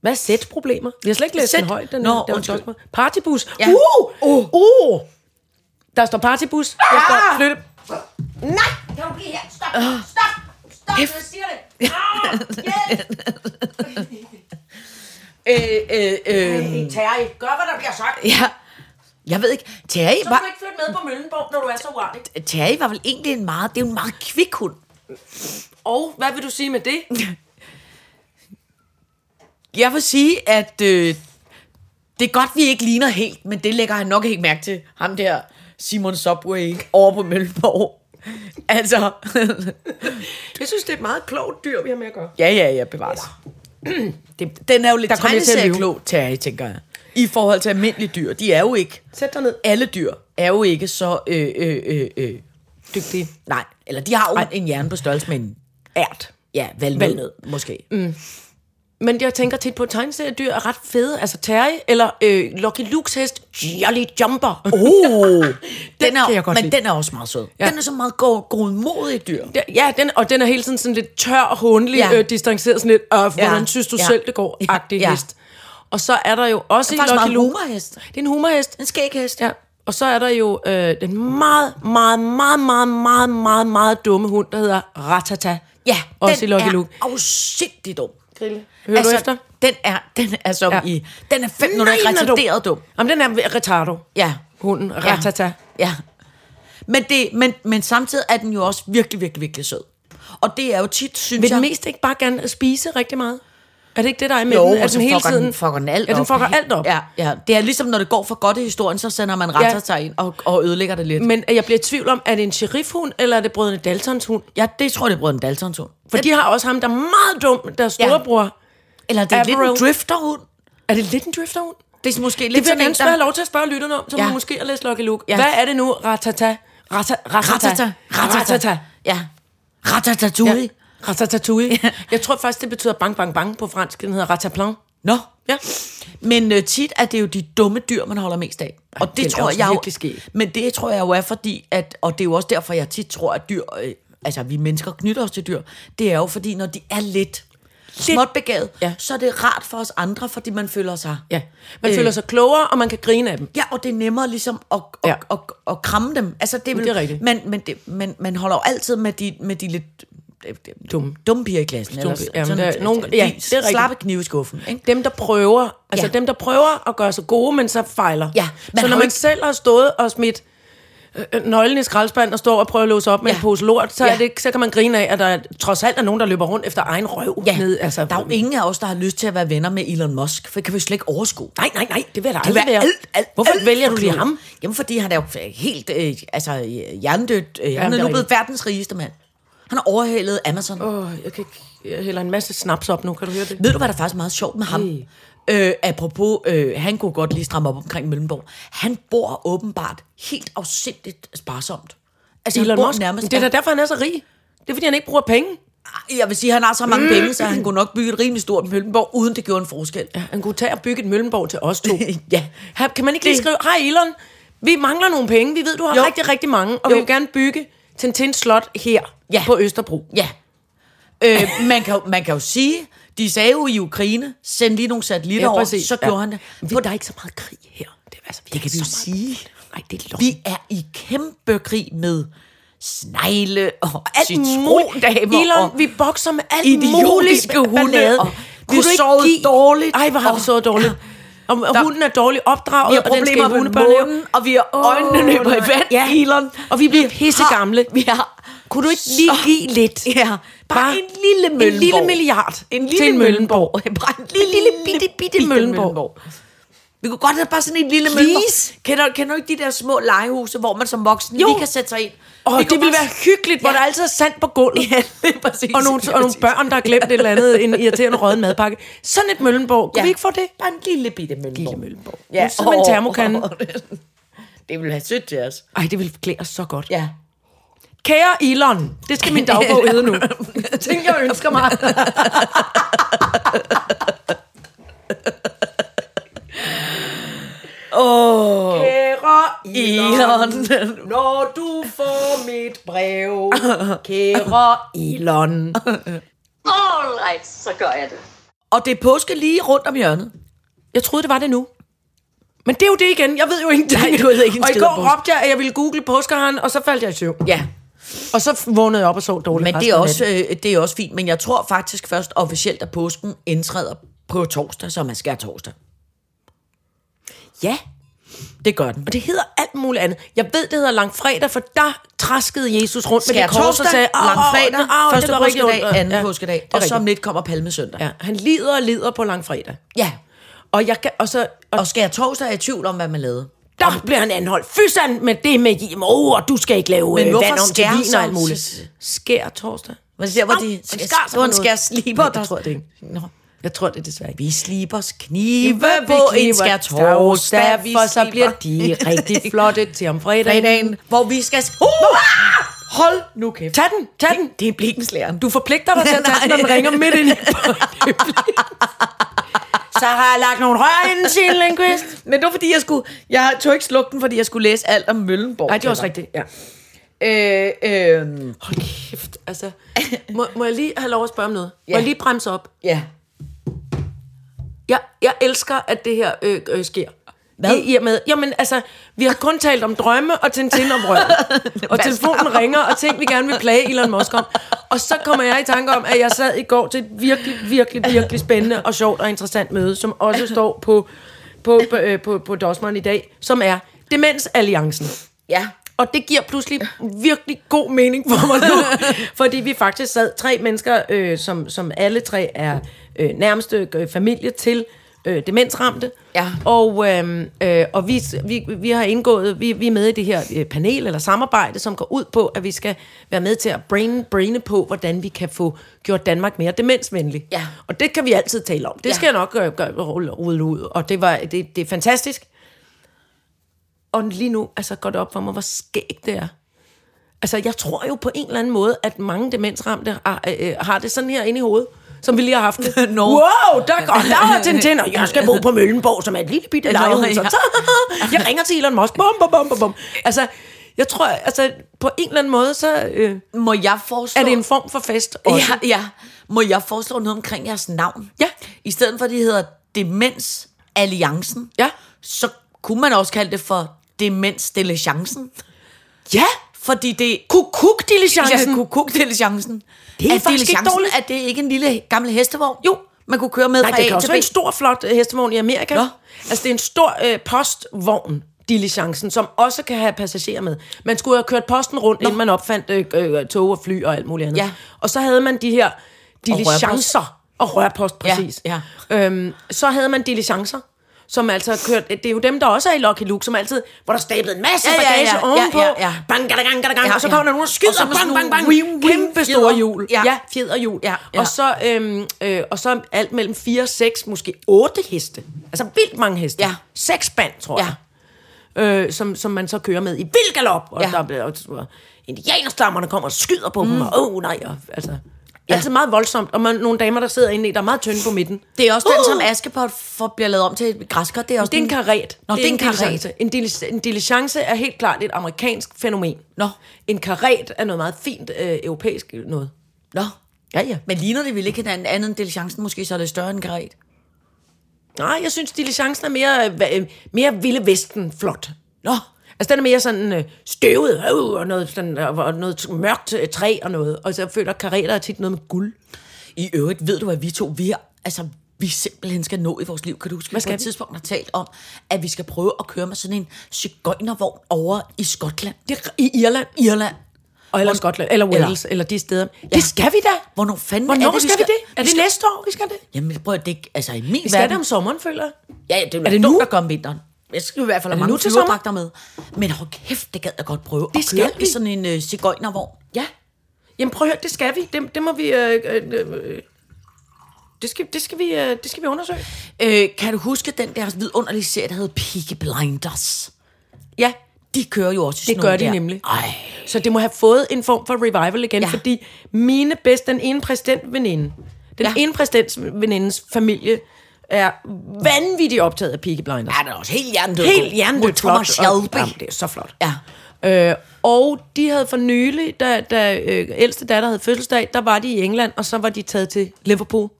Hvad er sætproblemer? Jeg har slet ikke læst den Sæt- højt, den, Nå, Nå, den, undskyld. den Partybus. Ja. Ja. Uh! Uh! uh! Der står partybus. Der står flytte. Kan du blive her? Stop! Stop! Stop, når jeg siger det! Ah, hjælp! <laughs> Øh, øh, øh, Hey, Terje, gør, hvad der bliver sagt. Ja. Jeg ved ikke, Terry Så kan var, du ikke flytte med på Møllenborg, når du er så uartig. Terry var vel egentlig en meget, det er jo en meget kvik hund. Og hvad vil du sige med det? Jeg vil sige, at øh, det er godt, vi ikke ligner helt, men det lægger han nok ikke mærke til. Ham der Simon Subway over på Mølleborg. <laughs> Altså, Jeg synes, det er et meget klogt dyr, vi har med at gøre. ja, ja, ja, bevares. Det, Den er jo lidt Der kom jeg til at lyve. tegneserieklog, Terry, tænker jeg. I forhold til almindelige dyr, de er jo ikke, sæt dig ned. alle dyr er jo ikke så øh, øh, øh, øh, dygtige. Nej, eller de har jo en hjerne på størrelse med en ært. Ja, valgnød, Valnød. Mm, måske. Men jeg tænker tit på, at tegneseriedyr er ret fede. Altså Terry eller øh, Lucky Luke's hest, Jolly Jumper. Oh. Den er, kan jeg godt men lide. den er også meget sød. Ja. Ja. Den er så meget god, godmodig dyr. Der- Ja, den, og den er hele tiden sådan lidt tør og håndelig, Ja. ja. øh, distanceret sådan lidt, øh, hvordan Ja. synes du Ja. ja. selv, det går, Ja. agtig Ja. ja. hest. Og så er der jo også Det er faktisk i Lucky meget Luke, humorhest. det er en humorhest, En skæghest. ja. Og så er der jo øh, den meget, meget, meget, meget, meget, meget, meget dumme hund, der hedder Ratata. Ja, Også den i Lucky er Luke. afsindig dum. Grille. Hører du efter? Den er, den er som ja. Ja. i... Den er fem minutter Nej, den er dum. retarderet dum. Jamen, den er retardo. Ja. Hunden, Ratata. Ja. ja. Men, det, men, men samtidig er den jo også virkelig, virkelig, virkelig sød. Og det er jo tit, synes Vil jeg... den mest ikke bare gerne spise rigtig meget? Er det ikke det, der er med Jo, den? Er og så den hele fucker den- tiden... fucker den alt ja, den op. fucker alt op. Ja, ja. Det er ligesom, når det går for godt i historien, så sender man Ratata ja. ind og, og ødelægger det lidt. Men jeg bliver i tvivl om, er det en sheriffhund, eller er det brødrene Daltons hund? Ja, det tror jeg, det er Brøden Daltons hund. For de har også ham, der er meget dum, der er storebror. Ja. Eller det er lidt en Averell. drifterhund. Er det lidt en drifterhund? Det er måske lidt Det vil jeg sådan en, gerne spørge- have lov til at spørge lytterne om, som Ja. ja. måske har læst Lucky Luke. Ja. Ja. Hvad er det nu? Ratata. Rata, ratata. Ratata. Ratata. Ja. Ratatatouille. Ja. Ja. Ratatatouille. Ja. Jeg tror faktisk, det betyder bang, bang, bang på fransk. Den hedder rataplan. Nå. Ja. Men øh, tit er det jo de dumme dyr, man holder mest af. Og det den er tror også jeg jo, virkelig skæg. Men det tror jeg jo er fordi, at, og det er jo også derfor, jeg tit tror, at dyr, øh, altså vi mennesker knytter os til dyr, det er jo fordi, når de er lidt, småt begavet, ja. Ja. så er det rart for os andre, fordi man føler sig... Ja. Man Øh. øh. føler sig klogere, og man kan grine af dem. Ja, og det er nemmere ligesom at, at, ja. Ja. at, at, at kramme dem. Altså, det, er vel, det er rigtigt. Men, men, det, men man holder jo altid med de, med de lidt dumme, dumme piger i klassen. Dumme, piger. Jamen, der er nogen- ja, det er rigtigt. Slappe knive i skuffen. Ikke? dem, der prøver, altså Ja. ja. dem, der prøver at gøre sig gode, men så fejler. Ja, man så har jo når man ikke- ikke... selv har stået og smidt øh, øh, nøglen i skraldespanden og står og prøver at låse op med Ja. ja. en pose lort, så, ja. Ja. er det, ikke- så kan man grine af, at der trods alt er nogen, der løber rundt efter egen røv. Ja, Ned, altså, altså, der er jo ingen af os, der har lyst til at være venner med Elon Musk, for det kan vi slet ikke overskue. Nej, nej, nej, det vil jeg da Det vil aldrig være være. alt, alt, Hvorfor alt vælger for du lige kloge. ham? Jamen, fordi han er jo helt øh, altså, øh, hjernedødt. Øh, han det er nu er blevet rigtigt. verdens rigeste mand. Han har overhalet Amazon. Åh, oh, jeg kan ikke... Jeg hælder en masse snaps op nu, kan du høre det? Ved du, hvad der er faktisk meget sjovt med ham? Øh, apropos, øh, han kunne godt lige stramme op omkring Møllenborg. Han bor åbenbart helt afsindigt sparsomt. Altså, han bor Elon Musk, nærmest... det er da derfor, han er så rig. Det er, fordi han ikke bruger penge. Jeg vil sige, han har så mange penge, så han kunne nok bygge et rimelig stort Møllenborg, uden det gjorde en forskel. Ja, han kunne tage og bygge et Møllenborg til <laughs> os to. Ja. Ha- Kan man ikke lige Det- skrive, hej Elon, vi mangler nogle penge, vi ved, du har Jo. jo. rigtig, rigtig mange, og Jo. jo. vi vil gerne bygge Tintin Slot her Ja. ja. på Østerbro. Ja. Øh, man, kan, jo- man kan jo sige, de sagde jo i Ukraine, send lige nogle satellitter ja, over, præcis. så gjorde ja. han det. Men ved, der er ikke så meget krig her. Det, altså, det kan vi jo sige. Nej, det er lov. Vi er i kæmpe krig med snegle og alt muligt. citrondamer. Elon, og- vi bokser med alt idiotiske muligt. hunde, ballade. og Kunne vi du ikke sovede give- dårligt, Ej, hvor har vi og- sovet dårligt. Og, og Der- hunden er dårligt opdraget, vi har og den skal i problemer med hundebørnehave. månen, og vi har Åh, øjnene løber i nej. vand, Ja. Elon. Og vi bliver pisse har- gamle. Vi har Kunne du ikke lige give lidt? Ja, bare, bare Bare en lille en Møllenborg. lille milliard en lille til en Møllenborg. <laughs> bare en lille, lille, bitte, bitte, Møllenborg. Møllenborg. Vi kunne godt have bare sådan en lille Please. Møllenborg. Kender, kender du ikke de der små legehuse, hvor man som voksen Jo. lige kan sætte sig ind? Åh, Vi det kunne ville bare- være hyggeligt, hvor der altid er sand på gulvet. Ja, <laughs> lige præcis. og nogle, og nogle børn, der har glemt et eller andet, en irriterende rødden madpakke. Sådan et Møllenborg. Kunne Ja. vi ikke få det? Bare en lille bitte Møllenborg. Lille Møllenborg. Ja. Nu sidder med en Åh, termokande. åh, åh. <laughs> Det ville have sødt til os. Ej, det ville klæde os så godt. Ja. Kære Elon, det skal min <laughs> dagbog hedde nu. Tænk, jeg ønsker <laughs> mig. Kære Elon. <laughs> når du får mit brev, kære Elon. All right, så gør jeg det. Og det er påske lige rundt om hjørnet. Jeg troede, det var det nu. Men det er jo det igen. Jeg ved jo ingenting. Nej, du ved ikke en og i skid om går påske. råbte jeg, at jeg ville google påskeharen, og så faldt jeg i søvn. Ja. Og så vågnede jeg op og sov dårligt. Men det resten er, af også, natten. øh, det er også fint, men jeg tror faktisk først officielt, at påsken indtræder på torsdag, så man skal torsdag. Ja, Det gør den. og det hedder alt muligt andet. Jeg ved, det hedder langfredag, for der traskede Jesus rundt med det kors og sagde, "Au, au, langfredag, au, første det var rigtig påskedag, ondt." anden Ja, påskedag, det er og så rigtigt. om lidt kommer palmesøndag. Ja, han lider og lider på langfredag. ja. Og, jeg kan, og, så, og Og skal jeg torsdag er jeg i tvivl om, hvad man lavede. der bliver han anholdt. Fysan med det med JMO, og du skal ikke lave Men Men hvorfor vand om til skærer vin så- og alt muligt. Skær torsdag. Man ser, hvor Au, de han skar sig hvor han på noget. skærer sliber. Nej, der- jeg tror det ikke. Nå. Jeg tror det desværre ikke. Vi slibers knive Hvad på en skær torsdag, <laughs> for så bliver de rigtig flotte til om fredagen. fredagen, hvor vi skal... Uh! Hold nu kæft. Tag den, tag den. Det er blikkenslæren. Du forpligter dig til at tage den, når den ringer midt ind i <laughs> Så har jeg lagt nogle rør ind til en linguist. Men det var fordi, jeg skulle... Jeg tog ikke slukke den, fordi jeg skulle læse alt om Møllenborg. Nej, det er også rigtigt, ja. rigtigt. Øh, øh, Hold kæft, altså. Må, må jeg lige have lov at spørge om noget? Ja. Ja. Må jeg lige bremse op? ja. Jeg, jeg elsker, at det her øh, øh, sker. Hvad? I, I og med, jamen altså, vi har kun talt om drømme og Tintin om røven. og telefonen ringer, og ting, vi gerne vil plage Elon Musk om. Og så kommer jeg i tanke om, at jeg sad i går til et virkelig, virkelig, virkelig spændende og sjovt og interessant møde, som også står på, på, på, øh, på, på Dossmann i dag, som er Demensalliancen. Ja. Og det giver pludselig virkelig god mening for mig nu, <laughs> fordi vi faktisk sad tre mennesker, øh, som, som alle tre er øh, nærmeste øh, familie til øh, demensramte. Ja. Og, øh, øh, og vi, vi, vi har indgået, vi, vi er med i det her øh, panel eller samarbejde, som går ud på, at vi skal være med til at brain, braine på, hvordan vi kan få gjort Danmark mere demensvenlig. Ja. Og det kan vi altid tale om. Det Ja. ja. skal jeg nok øh, gøre, rulle, rulle ud, og det, var, det, det er fantastisk. Og lige nu altså, går det op for mig, hvor skægt det er. Altså, jeg tror jo på en eller anden måde, at mange demensramte har, øh, øh, har det sådan her inde i hovedet, som vi lige har haft <laughs> det. Nå. Wow, der, og der var Tintin, og jeg skal bo på Møllenborg, som er et lille bitte Nå, lejehus. ja. Ja. <laughs> jeg ringer til Elon Musk. Bum, bum, bum, bum, bum. Altså, jeg tror, altså, på en eller anden måde, så øh, Må jeg foreslå... er det en form for fest også. Ja, ja. Må jeg foreslå noget omkring jeres navn? Ja. I stedet for, at det hedder Demens Alliancen, Ja. så kunne man også kalde det for Demens Diligencen. ja. Fordi det... Kukuk-diligencen. Ja, kukuk diligencen. Det er faktisk ikke diligencen- dårligt. Er det ikke en lille gammel hestevogn? Jo. Man kunne køre med Nej, fra det kan A også til være en B. stor, flot øh, hestevogn i Amerika. Nå. Altså, det er en stor øh, postvogn, diligencen, som også kan have passagerer med. Man skulle have kørt posten rundt, Nå. inden man opfandt øh, øh, tog og fly og alt muligt andet. Ja. Og så havde man de her diligencer. Og rørpost, Ja, præcis. ja. Øhm, så havde man diligencer, som altså kørte... Det er jo dem, der også er i Lucky Luke, som altid... Hvor der stablede en masse Ja, ja, bagage ja, ja, ovenpå. ja, ja. Bang, gada, gang, gada, gang, Ja, og så ja. kommer der nogen og Og så skyder. med Bang, sådan bang, bang. nogle whim, whim, Kæmpe store fjeder. hjul. Ja. ja fjederhjul. Ja, ja. Og så, øhm, øh, og så alt mellem 4, 6, måske 8 heste. Altså vildt mange heste. Ja. Seks band, tror Ja. jeg. Øh, som, som man så kører med i vild galop. Og Ja. ja. der bliver og, og indianerstammerne kommer og skyder på mm. dem. Og åh oh, nej, og, altså... Ja. Altid meget voldsomt. Og man, nogle damer, der sidder inde i, der er meget tynde på midten. Det er også den, Uh! som Askepot for, bliver lavet om til et græskar. Det er også Det er en karet. Nå, det er en diligence. karet. En, dili- en diligence er helt klart et amerikansk fænomen. Nå. En karet er noget meget fint øh, europæisk noget. Nå. Ja, ja. Men ligner det vel ikke hinanden andet end diligencen? Måske så er det større end karet. Nej, jeg synes, diligencen er mere, øh, hva- øh, mere Ville Vesten flot. Nå. Altså, den er mere sådan øh, støvet, øh, og noget, sådan, og, og noget mørkt øh, træ og noget. Og så jeg føler kareter er tit noget med guld. I øvrigt ved du, at vi to, vi er, altså, vi simpelthen skal nå i vores liv. Kan du huske, at vi skal på et vi? tidspunkt har talt om, at vi skal prøve at køre med sådan en cigøjnervogn over i Skotland? Det er i Irland. Irland. Og eller Skotland, eller Wales, eller, eller de steder. Ja. Det skal vi da. Hvornår fanden Hvornår er det, skal vi det? Er vi det skal- næste år, vi skal det? Jamen prøv at det ikke, altså i min Vi skal verden. det om sommeren, føler jeg. Ja, ja, det Er det dumt nu? at gøre om vinteren. Jeg skal i hvert fald det have mange nu til flyverdragter med. Men hold kæft, det gad jeg godt prøve. at skal køre vi. i sådan en øh, cigøjnervogn. Ja. Jamen prøv at høre, det skal vi. Det, det må vi... Øh, øh, øh, det skal, det, skal vi, øh, det skal vi undersøge. Øh, kan du huske den der vidunderlige serie, der hedder Peaky Blinders? Ja, De kører jo også i sådan Det gør nogle de der. nemlig. Ej. Så det må have fået en form for revival igen, Ja. ja. fordi mine bedste, den ene præsidentveninde, den Ja. ja. ene præsidentvenindens familie, er vanvittigt optaget af Peaky Blinders. Ja, den er også helt hjernedød. Helt hjernedødt flot. Thomas Shelby. Og, jamen, det er så flot. Ja. Øh, og de havde for nylig, da, da øh, ældste datter havde fødselsdag, der var de i England, og så var de taget til Liverpool.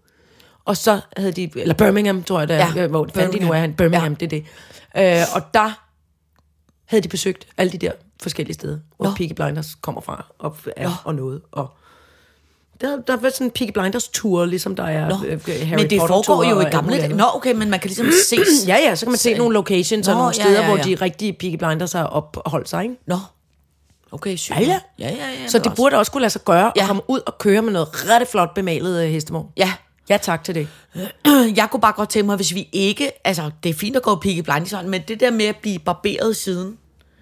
Og så havde de, eller Birmingham, tror jeg, der, Ja, ja, hvor fanden de nu er Birmingham. han, Birmingham, Ja. ja. det er det. Øh, og der havde de besøgt alle de der forskellige steder, hvor Nå. Nå. Peaky Blinders kommer fra, og, er, og noget, og... Der, der var sådan en Peaky Blinders tour, ligesom der er Nå. øh, Harry men det Potter foregår tour jo og i alt gamle muligt dage. andet. Nå, okay, men man kan <clears throat> ligesom ses. Ja, ja, så kan man se nogle locations og Nå, nogle ja, steder, ja, ja. hvor de rigtige Peaky Blinders har opholdt sig, ikke? Nå. Okay, sygt. Ja, ja. ja, ja, ja Så det også- burde også kunne lade sig gøre ja. Ja. at komme ud og køre med noget ret flot bemalet øh, hestevogn. Ja. Ja, tak til det. Jeg kunne bare godt tænke mig, hvis vi ikke... Altså, det er fint at gå Peaky Blinders hånd, men det der med at blive barberet siden...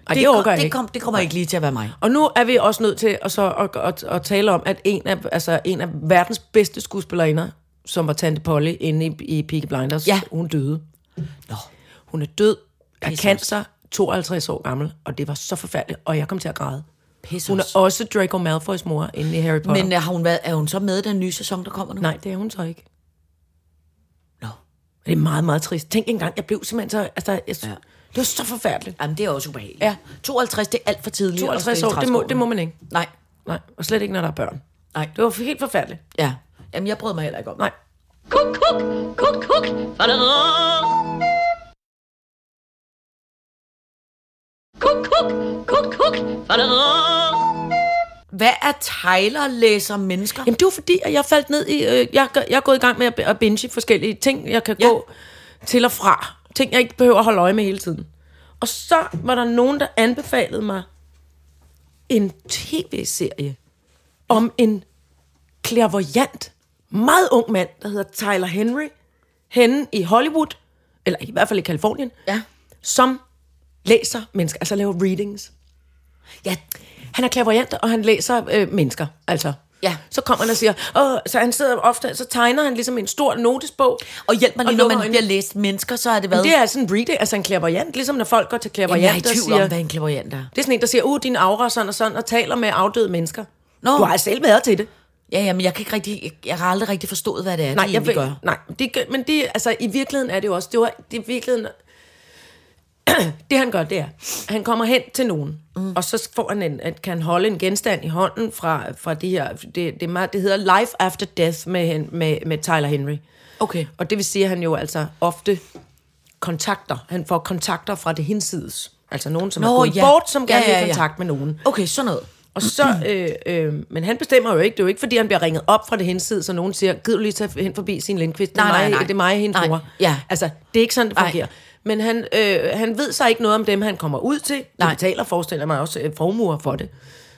Ej, det orker jeg det, ikke. kom, det kommer ikke lige til at være mig. Og nu er vi også nødt til at, så, at, at, at tale om, at en af, altså, en af verdens bedste skuespillerinder, som var Tante Polly inde i, i Peaky Blinders, Ja. hun døde. Nå. Hun er død af cancer, 52 år gammel, og det var så forfærdeligt, og jeg kom til at græde. Pisse Hun hun er også Draco Malfoys mor inde i Harry Potter. Men øh, har hun været, er hun så med i den nye sæson, der kommer nu? Nej, det er hun så ikke. Nå. Det er meget, meget trist. Tænk engang, jeg blev simpelthen så... Altså, jeg, ja. Det var så forfærdeligt. Jamen, det er også ubehageligt. Ja. 52, det er alt for tidligt. at 52 spille år, det må, træskoene. det må man ikke. Nej, Nej, og slet ikke, når der er børn. nej. Det var helt forfærdeligt. Ja. Jamen, jeg brød mig heller ikke om det. Nej. Kuk, kuk, kuk, kuk. Fadadadam. Kuk, kuk, kuk, kuk. Fadadadam. Hvad er Tyler læser mennesker? Jamen, det var fordi, at jeg faldt ned i... Øh, jeg, gør- jeg er gået i gang med at, at binge forskellige ting, jeg kan ja. Ja. gå til og fra. Ting, jeg ikke behøver at holde øje med hele tiden. Og så var der nogen, der anbefalede mig en tv-serie om en klærvoyant, meget ung mand, der hedder Tyler Henry, henne i Hollywood, eller i hvert fald i Kalifornien, Ja. som læser mennesker, altså laver readings. Ja, han er klaverant, og han læser øh, mennesker, altså. Ja. Så kommer han og siger, Åh, så han sidder ofte, så tegner han ligesom en stor notesbog. Og hjælp mig lige, når lukker man øjnene. bliver læst mennesker, så er det hvad? Det er sådan en reading, altså en klaverant, ligesom når folk går til Jamen, jeg er i klaverant og tvivl siger... om, hvad en klaverant er. Det er sådan en, der siger, uh, din aura er sådan og sådan, og taler med afdøde mennesker. Nå. Du har selv været til det. Ja, ja, men jeg, kan ikke rigtig, jeg, jeg har aldrig rigtig forstået, hvad det er, Nej, de jeg egentlig ved, gør. nej det, gør- men det, altså, i virkeligheden er det jo også, det, var, det er virkeligheden, <clears throat> det han gør, det er, han kommer hen til nogen, mm. og så får han en, at kan han holde en genstand i hånden fra, fra det her, det, det, er meget, det hedder Life After Death med, hen- med, med Tyler Henry. Okay. Og det vil sige, at han jo altså ofte kontakter, han får kontakter fra det hinsides. Altså nogen, som Nå, er Nå, gået ja. ja. bort, som gerne Ja, ja, vil i ja. kontakt med nogen. Okay, sådan noget. Og så, øh, øh, men han bestemmer jo ikke. Det er jo ikke, fordi han bliver ringet op fra det henside, så nogen siger, gider du lige tage hen forbi sin Lindqvist? Det er Nej, nej, mig, nej. Det er mig, hendes Nej, mor. ja. Altså, det er ikke sådan, det Nej. fungerer. Men han, øh, han ved så ikke noget om dem, han kommer ud til. Nej. Nej. De betaler, forestiller jeg mig, også øh, formuer for det.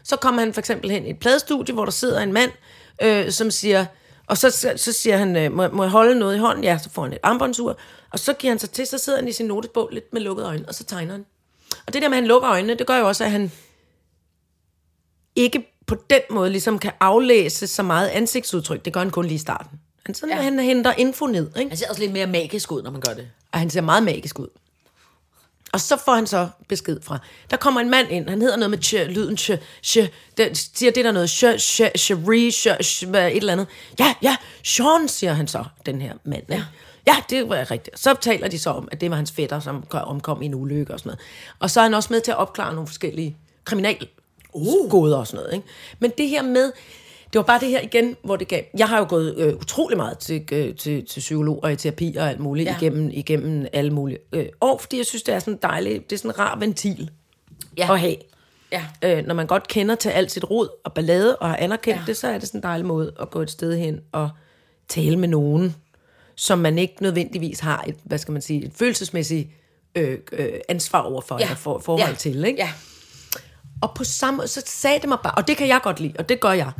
Så kommer han for eksempel hen i et pladestudie, hvor der sidder en mand, øh, som siger, og så, så, så siger han, øh, må, må jeg holde noget i hånden? Ja, så får han et armbåndsur. Og så giver han sig til, så sidder han i sin notesbog lidt med lukkede øjne, og så tegner han. Og det der med, at han lukker øjnene, det gør jo også, at han ikke på den måde ligesom kan aflæse så meget ansigtsudtryk. Det gør han kun lige i starten. Han, sådan, ja. han henter info ned, ikke? Han ser også lidt mere magisk ud, når man gør det. Og han ser meget magisk ud. Og så får han så besked fra. Der kommer en mand ind, han hedder noget med tjø, lyden tjø, tjø, den siger det der noget, tjø, tjø, cherie, tjø, tjø, hvad, et eller andet. Ja, ja, Sean, siger han så, den her mand. Ja. ja, det var rigtigt. Så taler de så om, at det var hans fætter, som kom- omkom i en ulykke og sådan noget. Og så er han også med til at opklare nogle forskellige Uh. kriminalgåder og sådan noget. Ikke? Men det her med, det var bare det her igen, hvor det gav... Jeg har jo gået øh, utrolig meget til, øh, til, til psykolog og i terapi og alt muligt ja. Ja. igennem, igennem alle mulige øh, år, fordi jeg synes, det er sådan dejligt, det er sådan en rar ventil ja. Ja. at have. Ja. Øh, når man godt kender til alt sit rod og ballade og har anerkendt ja. Ja. det, så er det sådan en dejlig måde at gå et sted hen og tale med nogen, som man ikke nødvendigvis har et, hvad skal man sige, et følelsesmæssigt øh, øh, ansvar overfor ja. eller for, forhold ja. til. Ikke? Ja. Og på samme måde, så sagde det mig bare, og det kan jeg godt lide, og det gør jeg.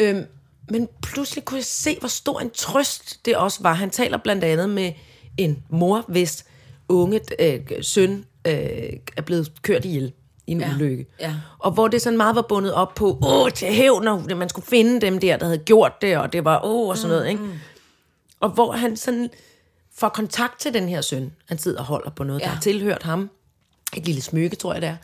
Øhm, men pludselig kunne jeg se, hvor stor en trøst det også var. Han taler blandt andet med en mor, hvis unge øh, søn øh, er blevet kørt ihjel i en ja. Ja, ulykke. ja. Og hvor det sådan meget var bundet op på, åh, til hævn, og man skulle finde dem der, der havde gjort det, og det var åh, og Mm. sådan noget, ikke? Og hvor han sådan får kontakt til den her søn. Han sidder og holder på noget, ja. der Ja. har tilhørt ham. Et lille smykke, tror jeg det er.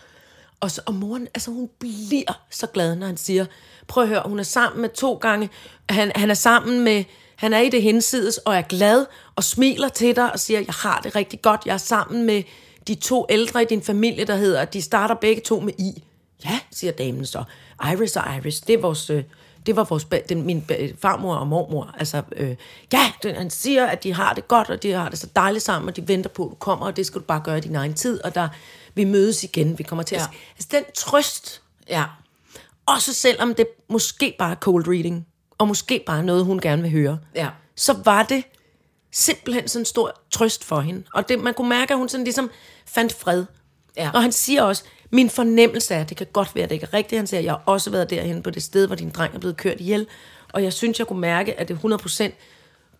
Og, så, og moren, altså hun bliver så glad, når han siger, prøv at høre, hun er sammen med to gange, han, han er sammen med, han er i det hensides, og er glad, og smiler til dig, og siger, jeg har det rigtig godt, jeg er sammen med de to ældre i din familie, der hedder, de starter begge to med I. Ja, siger damen så. Iris og Iris, det er vores... Øh, det var vores, ba- den, min ba- farmor og mormor. Altså, øh, ja, den, han siger, at de har det godt, og de har det så dejligt sammen, og de venter på, at du kommer, og det skal du bare gøre i din egen tid, og der, vi mødes igen, vi kommer til ja. at... Ja. se- Altså, den trøst, Ja. også selvom det måske bare er cold reading, og måske bare er noget, hun gerne vil høre, Ja. så var det simpelthen sådan en stor trøst for hende. Og det, man kunne mærke, at hun sådan ligesom fandt fred. Ja. Og han siger også, min fornemmelse er, at det kan godt være, at det ikke er rigtigt. Han siger, jeg har også været derhen på det sted, hvor din dreng er blevet kørt ihjel. Og jeg synes, jeg kunne mærke, at det 100%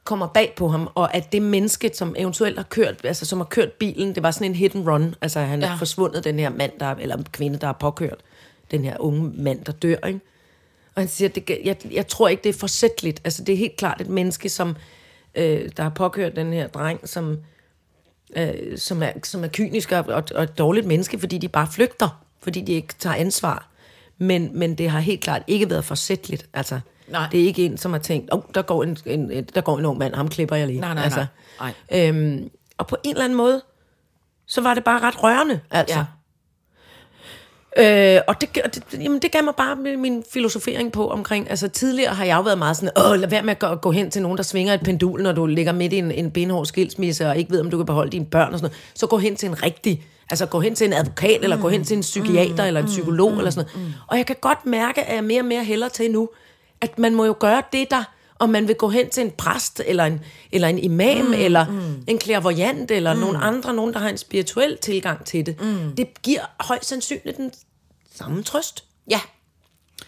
kommer bag på ham, og at det menneske, som eventuelt har kørt, altså som har kørt bilen, det var sådan en hit and run. Altså han ja. er Ja. forsvundet, den her mand, der, eller kvinde, der har påkørt den her unge mand, der dør, ikke? Og han siger, det, jeg, jeg tror ikke, det er forsætligt. Altså, det er helt klart et menneske, som øh, der har påkørt den her dreng, som, øh, som, er, som er kynisk og, og, og et dårligt menneske, fordi de bare flygter, fordi de ikke tager ansvar. men, men det har helt klart ikke været forsætligt. Altså, Nej. Det er ikke en, som har tænkt, oh, der, går en, en, en- der går en ung mand, ham klipper jeg lige. Nej, nej, altså, nej. Øhm, og på en eller anden måde, så var det bare ret rørende, altså. Ja. Ja. Øh, og det, og det, jamen, det gav mig bare min, min filosofering på omkring, altså tidligere har jeg jo været meget sådan, åh, lad være med at gå, gå hen til nogen, der svinger et pendul, når du ligger midt i en, en benhård skilsmisse, og ikke ved, om du kan beholde dine børn og sådan noget. Så gå hen til en rigtig, altså gå hen til en advokat, eller gå hen til en psykiater, eller en psykolog, eller sådan noget. Og jeg kan godt mærke, at jeg mere og mere hælder til nu, at man må jo gøre det, der, om man vil gå hen til en præst, eller en, eller en imam, mm, eller mm. en klærvoyant, eller mm. nogen andre, nogen, der har en spirituel tilgang til det. Mm. Det giver højst sandsynligt den samme trøst. Øh, Ja.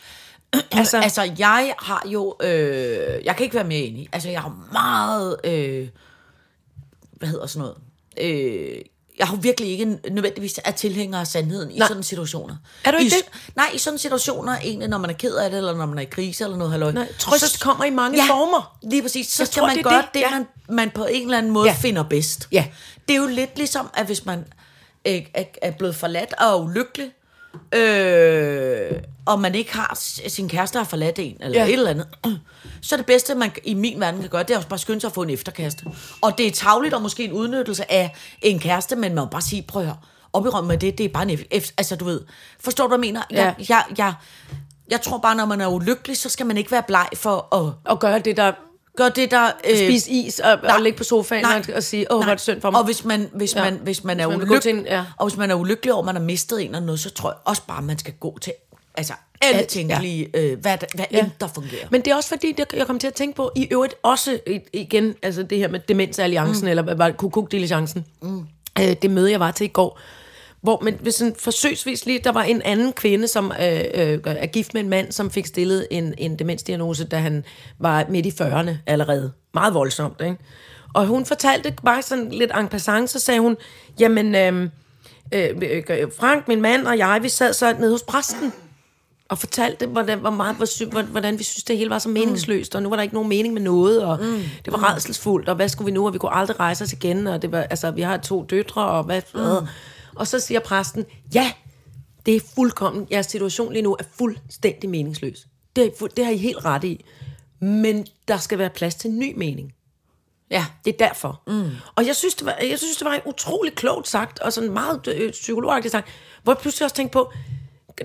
<clears throat> altså, altså, jeg har jo... Øh, jeg kan ikke være mere enig. Altså, jeg har meget... Øh, hvad hedder sådan noget? Øh, jeg har virkelig ikke nødvendigvis er tilhænger af sandheden i Nej. sådan situationer. Er du ikke I, det? Nej, i sådan situationer egentlig, når man er ked af det, eller når man er i krise, eller noget halløj. Nej, trøst så- kommer i mange former. Lige præcis. Så Jeg skal tror, man det er gøre det, det. det Ja. man, man på en eller anden måde ja. Ja. finder bedst. Ja. Det er jo lidt ligesom, at hvis man øh, er, er blevet forladt og er ulykkelig, øh, og man ikke har s- sin kæreste har forladt en, eller ja. Ja. et eller andet, så det bedste, man i min verden kan gøre, det er også bare at skynde sig at få en efterkæreste. Og det er tavligt og måske en udnyttelse af en kæreste, men man må bare sige, prøv at høre, opirømme med det, det er bare en ef- ef- Altså, du ved, forstår du, hvad jeg mener? Jeg, Ja. jeg, jeg, jeg tror bare, når man er ulykkelig, så skal man ikke være bleg for at Og gøre det, der gør det der... Øh, spise is og, og ligge på sofaen nej, og, og sige, åh, hvor er det synd for mig. Og hvis man, hvis ja. Ja. man, hvis man er man vil gå til ulykkelig, en- ja. og hvis man er ulykkelig over, at man har mistet en eller noget, så tror jeg også bare, at man skal gå til altså alle Alt, ja. tænkelige, øh, hvad, der- hvad ja. end der fungerer. Men det er også fordi, det, jeg kom til at tænke på, i øvrigt også i- igen, altså det her med Demensalliancen, mm. eller hvad var det, kukuk mm. øh, det møde, jeg var til i går, hvor men hvis sådan forsøgsvis lige, der var en anden kvinde, som øh, øh, er gift med en mand, som fik stillet en, en demensdiagnose, da han var midt i 40'erne allerede. Meget voldsomt, ikke? Og hun fortalte bare sådan lidt en passant, så sagde hun, jamen, øh, øh, øh, Frank, min mand og jeg, vi sad så nede hos præsten, og fortalte, hvordan, hvor meget, hvor, sy- hvor- hvordan vi synes, det hele var så meningsløst, og nu var der ikke nogen mening med noget, og mm. det var redselsfuldt, og hvad skulle vi nu, og vi kunne aldrig rejse os igen, og det var, altså, vi har to døtre, og hvad, mm. og så siger præsten, ja, det er fuldkommen, jeres situation lige nu er fuldstændig meningsløs. Det, er, fu- det har I helt ret i. Men der skal være plads til en ny mening. Ja. Det er derfor. Mm. Og jeg synes, det var, jeg synes, det var en utrolig klogt sagt, og sådan meget øh, psykologagtigt sagt, hvor jeg pludselig også tænkte på,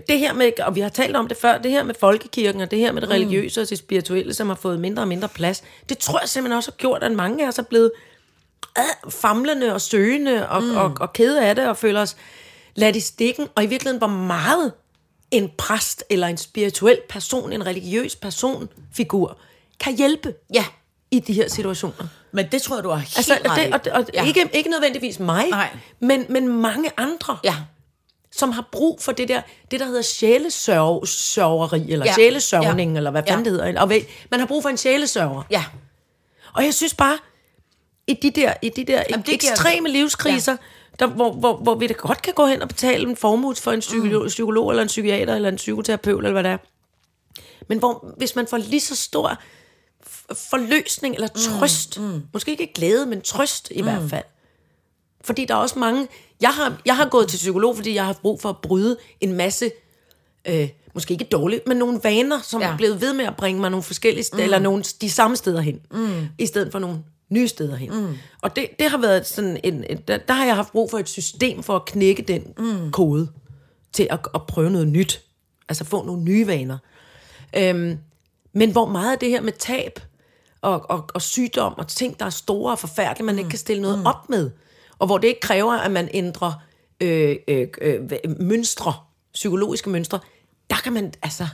det her med, og vi har talt om det før, det her med folkekirken, og det her med det religiøse og det spirituelle, som har fået mindre og mindre plads, det tror jeg simpelthen også har gjort, at mange af os er blevet ad, famlende og søgende og, mm. og, og kede af det, og føler os ladt i stikken, og i virkeligheden, hvor meget en præst eller en spirituel person, en religiøs person, figur, kan hjælpe Ja. i de her situationer. Men det tror jeg, du har helt Altså, ret i. det, og, og ja. ja. ikke, ikke nødvendigvis mig, Nej. men, men mange andre, Ja. som har brug for det der, det der hedder sjælesørgeri, eller Ja. ja. sjælesørgning, Ja. ja. eller hvad Ja. fanden ja. det hedder. Og ved, man har brug for en sjælesørger. Ja. Og jeg synes bare, i de der, i de der Jamen, Jamen, det giver- ekstreme livskriser, ja. der, hvor, hvor, hvor vi da godt kan gå hen og betale en formue for en psykolog, mm. psykolog, eller en psykiater, eller en psykoterapeut, eller hvad det er. Men hvor, hvis man får lige så stor f- forløsning, eller trøst, mm, mm. måske ikke glæde, men trøst i mm. hvert fald. Fordi der er også mange... Jeg har, jeg har gået til psykolog, fordi jeg har haft brug for at bryde en masse... Øh, måske ikke dårligt, men nogle vaner, som Ja. ja. er blevet ved med at bringe mig nogle forskellige steder, mm. eller nogle, de samme steder hen, mm. i stedet for nogle nye steder hen. Mm. Og det, det har været sådan en... en der, der har jeg haft brug for et system for at knække den mm. kode til at, at prøve noget nyt. Altså få nogle nye vaner. Øhm, men hvor meget af det her med tab og, og, og sygdom og ting, der er store og forfærdelige, Mm. man ikke kan stille noget op med, og hvor det ikke kræver, at man ændrer øh, øh, øh, hva- mønstre, psykologiske mønstre, der kan man altså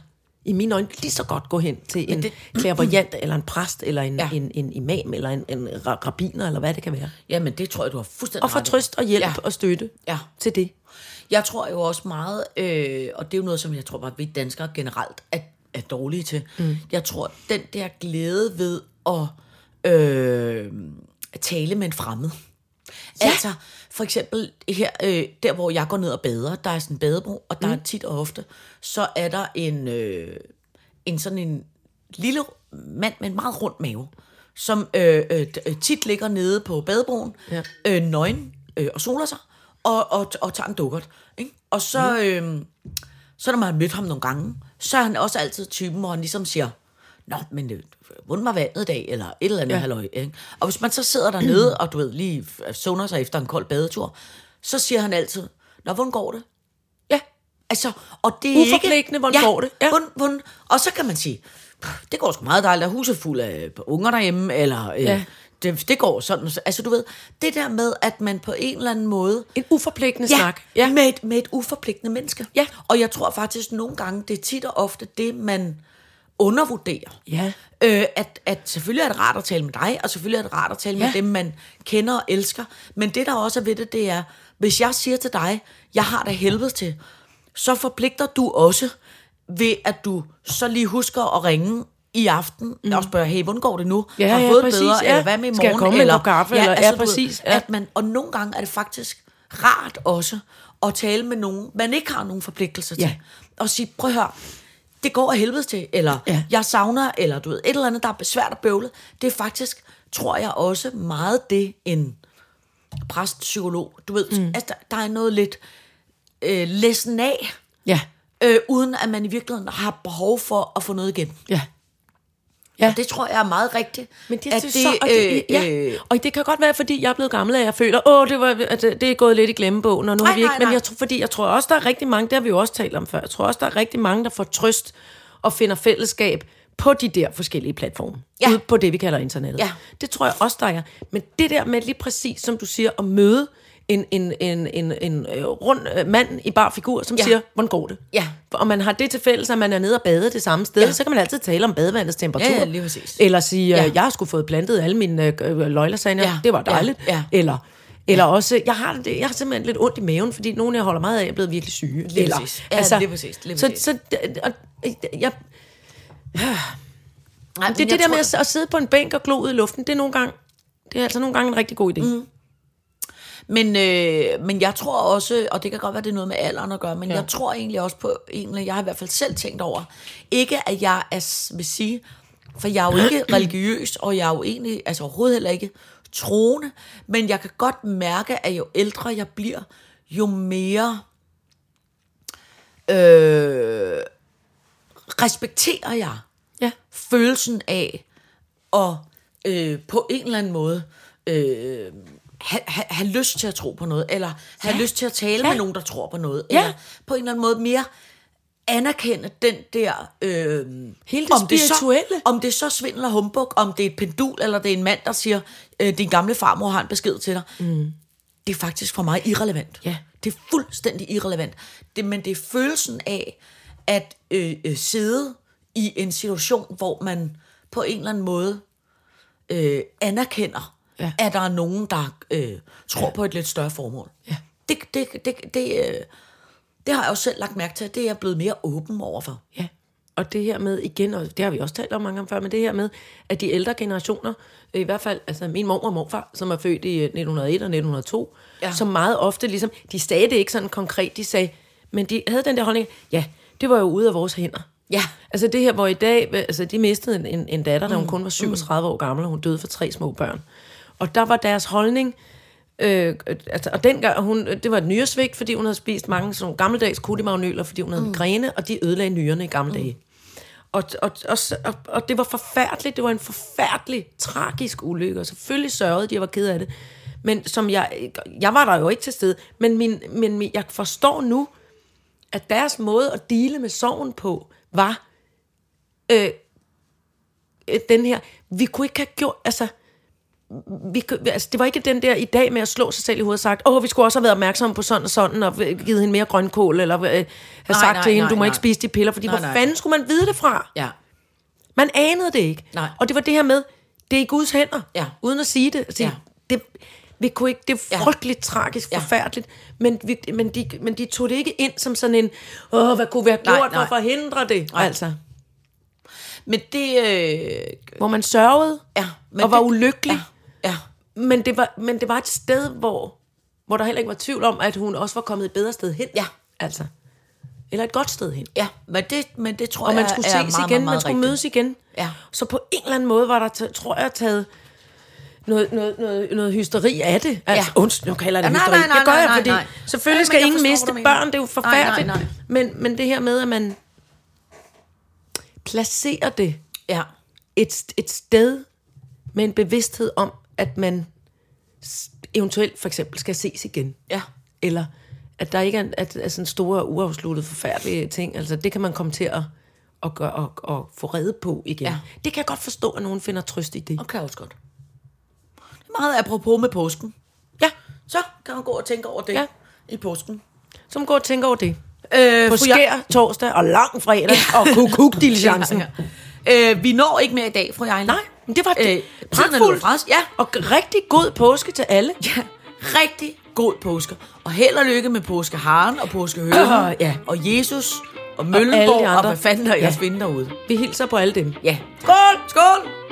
i mine øjne lige så godt gå hen til <clears throat> en klærvoyant, eller en præst, eller en, Ja. ja. en, en imam, eller en, en ra- rabbiner, eller hvad det kan være. Jamen, det tror jeg, du har fuldstændig Og få ret i. trøst og hjælp Ja. ja. og støtte Ja. til det. Jeg tror jo også meget, øh, og det er jo noget, som jeg tror bare, vi danskere generelt er, er dårlige til. Mm. Jeg tror, den der glæde ved at øh, tale med en fremmed. Ja. Altså, for eksempel her, øh, der hvor jeg går ned og bader, der er sådan en badebro, og der mm. er tit og ofte, så er der en, øh, en sådan en lille mand med en meget rund mave, som øh, øh, øh, tit ligger nede på badebroen, ja. Ja. øh, nøgen øh, og soler sig, og, og, og tager en dukkert. Ikke? Og så, øh, Så når man har mødt ham nogle gange, så er han også altid typen, hvor han ligesom siger, Nå, men øh, vund mig vandet i dag, eller et eller andet ja. halløj. Ikke? Og hvis man så sidder dernede, og du ved, lige f- sunder sig efter en kold badetur, så siger han altid, Nå, hvordan går det? Ja, altså, og det er ikke... Uforpligtende, hvordan går det? Ja. Ja. Hvordan, hvordan, og så kan man sige, "Puh, det går sgu meget dejligt, at huset er fuld af unger derhjemme, eller øh, ja. Ja. det, det går sådan. Altså, du ved, det der med, at man på en eller anden måde En uforpligtende ja, snak. Ja. Med, et, med et uforpligtende menneske. Ja. Og jeg tror faktisk nogle gange, det er tit og ofte det, man undervurderer. Ja. Øh, at, at selvfølgelig er det rart at tale med dig, og selvfølgelig er det rart at tale ja. med Ja. dem, man kender og elsker. Men det, der også er ved det, det er, hvis jeg siger til dig, jeg har dig helvede til, så forpligter du også ved, at du så lige husker at ringe i aften, mm. og spørge, hey, hvordan går det nu? Ja, har ja, fået præcis, bedre, ja. eller hvad med i morgen? Skal jeg komme med en eller, altså, kop kaffe, eller- ja, du ved, præcis, ja. At man, og nogle gange er det faktisk rart også at tale med nogen, man ikke har nogen forpligtelser til. Ja. Og sige, prøv at høre, det går af helvede til, eller ja. Ja. jeg savner, eller du ved, et eller andet, der er svært at bøvle. Det er faktisk, tror jeg også, meget det, en præst, psykolog, du ved, mm. altså, der, der er noget lidt øh, læsen af, Ja. øh, uden at man i virkeligheden har behov for at få noget igen. Ja. Ja. Og det tror jeg er meget rigtigt. Men det, at at det, så, og, det, øh, ja. og det kan godt være, fordi jeg er blevet gammel, at jeg føler, åh, det, var, at det det er gået lidt i glemmebogen, og nu Nej, har vi ikke... nej, Men nej. jeg, tror- fordi jeg tror også, der er rigtig mange, det har vi jo også talt om før, jeg tror også, der er rigtig mange, der får trøst og finder fællesskab på de der forskellige platforme. Ja. Ude på det, vi kalder internettet. Ja. Det tror jeg også, der er. Men det der med lige præcis, som du siger, at møde en, en, en, en, en øh, rund øh, mand i bar figur, som Ja. ja. siger, hvordan går det? Ja. Og man har det til fælles, at man er nede og bade det samme sted, Ja. ja. så kan man altid tale om badevandets temperatur. Ja, ja, lige præcis. Eller sige, Ja. ja. jeg har sgu fået plantet alle mine øh, løglasagne, Ja, ja. det var ja, dejligt. ja. Eller, eller også, jeg har, det, jeg har simpelthen lidt ondt i maven, fordi nogen, jeg holder meget af, er blevet virkelig syge. Lige eller, altså, præcis. Ja, lige præcis, lige så, præcis. så, d- og, øh, jeg, Nej, det er det der med at, at sidde på en bænk og glo ud i luften, det er nogle gange, det er altså nogle gange en rigtig god idé. Mm. Men, øh, men jeg tror også, og det kan godt være, det er noget med alderen at gøre, men ja. jeg tror egentlig også på, egentlig, jeg har i hvert fald selv tænkt over, ikke at jeg er, s- vil sige, for jeg er jo <clears throat> ikke religiøs, og jeg er jo egentlig, altså overhovedet heller ikke troende, men jeg kan godt mærke, at jo ældre jeg bliver, jo mere øh, respekterer jeg Ja. følelsen af at øh, på en eller anden måde øh, have ha, ha have lyst til at tro på noget, eller have lyst til at tale ja. med nogen, der tror på noget, Ja. eller på en eller anden måde mere anerkende den der... Øh, Hele det Det så, spirituelle. om det er så svindel og humbug, om det er et pendul, eller det er en mand, der siger, øh, din gamle farmor har en besked til dig. Mm. Det er faktisk for mig irrelevant. Ja. Det er fuldstændig irrelevant. Det, men det er følelsen af at øh, øh, sidde i en situation, hvor man på en eller anden måde øh, anerkender, ja. Ja. at der er nogen, der øh, tror på et lidt større formål. Ja. Det, det, det, det, øh, det har jeg også selv lagt mærke til, at det er jeg blevet mere åben overfor. Ja, og det her med igen, og det har vi også talt om mange gange før, men det her med, at de ældre generationer, øh, i hvert fald altså min mor og morfar, som er født i øh, 1901 og 1902, Ja. ja. som meget ofte ligesom, de sagde det ikke sådan konkret, de sagde, men de havde den der holdning, ja, det var jo ude af vores hænder. Ja. Altså det her, hvor i dag, øh, altså de mistede en, en, en datter, mm. da hun kun var 37 år gammel, og hun døde for tre små børn. Og der var deres holdning, Øh, altså, og dengang, hun, det var et nyresvigt, fordi hun havde spist mange sådan nogle gammeldags kulimagnyler, fordi hun havde mm. migræne, og de ødelagde nyrerne i gamle mm. dage. Og, og, og, så- og, og det var forfærdeligt, det var en forfærdelig, tragisk ulykke, og selvfølgelig sørgede de, jeg var ked af det. Men som jeg, jeg var der jo ikke til stede, men, min, men min, jeg forstår nu, at deres måde at dele med sorgen på, var øh, øh, den her, vi kunne ikke have gjort, altså, vi, kunne- altså, det var ikke den der i dag med at slå sig selv i hovedet og sagt, åh, vi skulle også have været opmærksomme på sådan og sådan, og øh, givet hende mere grønkål, eller øh, have nej, sagt nej, til hende, nej, du må nej. ikke spise de piller, fordi Nej, hvor nej. fanden skulle man vide det fra? Ja. Man anede det ikke. Nej. Og det var det her med, det er i Guds hænder, Ja. uden at sige det. At sige, Ja. det vi kunne ikke, det Ja. er frygteligt tragisk, Ja. forfærdeligt, men, vi, men, de, men de tog det ikke ind som sådan en, åh, hvad kunne vi have gjort nej. for at forhindre det? Nej. Altså, Men det... Øh, hvor man sørgede ja. Men og var det, ulykkelig, Ja. ja. men, det var, men det var et sted, hvor, hvor der heller ikke var tvivl om, at hun også var kommet et bedre sted hen. Ja. Altså, eller et godt sted hen. Ja, men det, men det tror og jeg man skulle er ses meget, meget, igen, meget man skulle rigtigt. mødes igen. Ja. Så på en eller anden måde var der, t- tror jeg, taget noget, noget, noget, noget hysteri af det. Altså, ja. undskyld, nu kalder jeg det Ja, nej, hysteri. nej, nej, det gør nej, jeg, nej, fordi nej. Ja, men selvfølgelig skal jeg ingen forstår, miste hvad du mener. børn. Det er jo forfærdeligt. Nej, nej, Men, men det her med, at man placerer det Ja. et, et sted med en bevidsthed om, at man s- eventuelt for eksempel skal ses igen. Ja. Eller at der ikke er, at, er sådan store, uafsluttede, forfærdelige ting. Altså, det kan man komme til at, at, gøre, og, og få redde på igen. Ja. Ja. Det kan jeg godt forstå, at nogen finder trøst i det. Og kan jeg også godt. Det er meget apropos med påsken. Ja, Så kan man gå og tænke over det ja. Ja. i påsken. så må man gå og tænke over det. Øh, På fru Jørgensen- skær torsdag og lang fredag og <laughs> kukuk diligencen <laughs> Ja, ja. Øh, vi når ikke mere i dag, fru Jejle. Nej, men det var Øh, det. tiden er nået fra os. Ja. Og rigtig god påske til alle. Ja, rigtig god påske. Og held og lykke med påskeharen og påskehøren. Øh, <laughs> ja. Og Jesus og alle de Møllenborg og, og andre. hvad fanden der ellers Ja. ja. derude. Vi hilser på alle dem. Ja. Skål! Skål!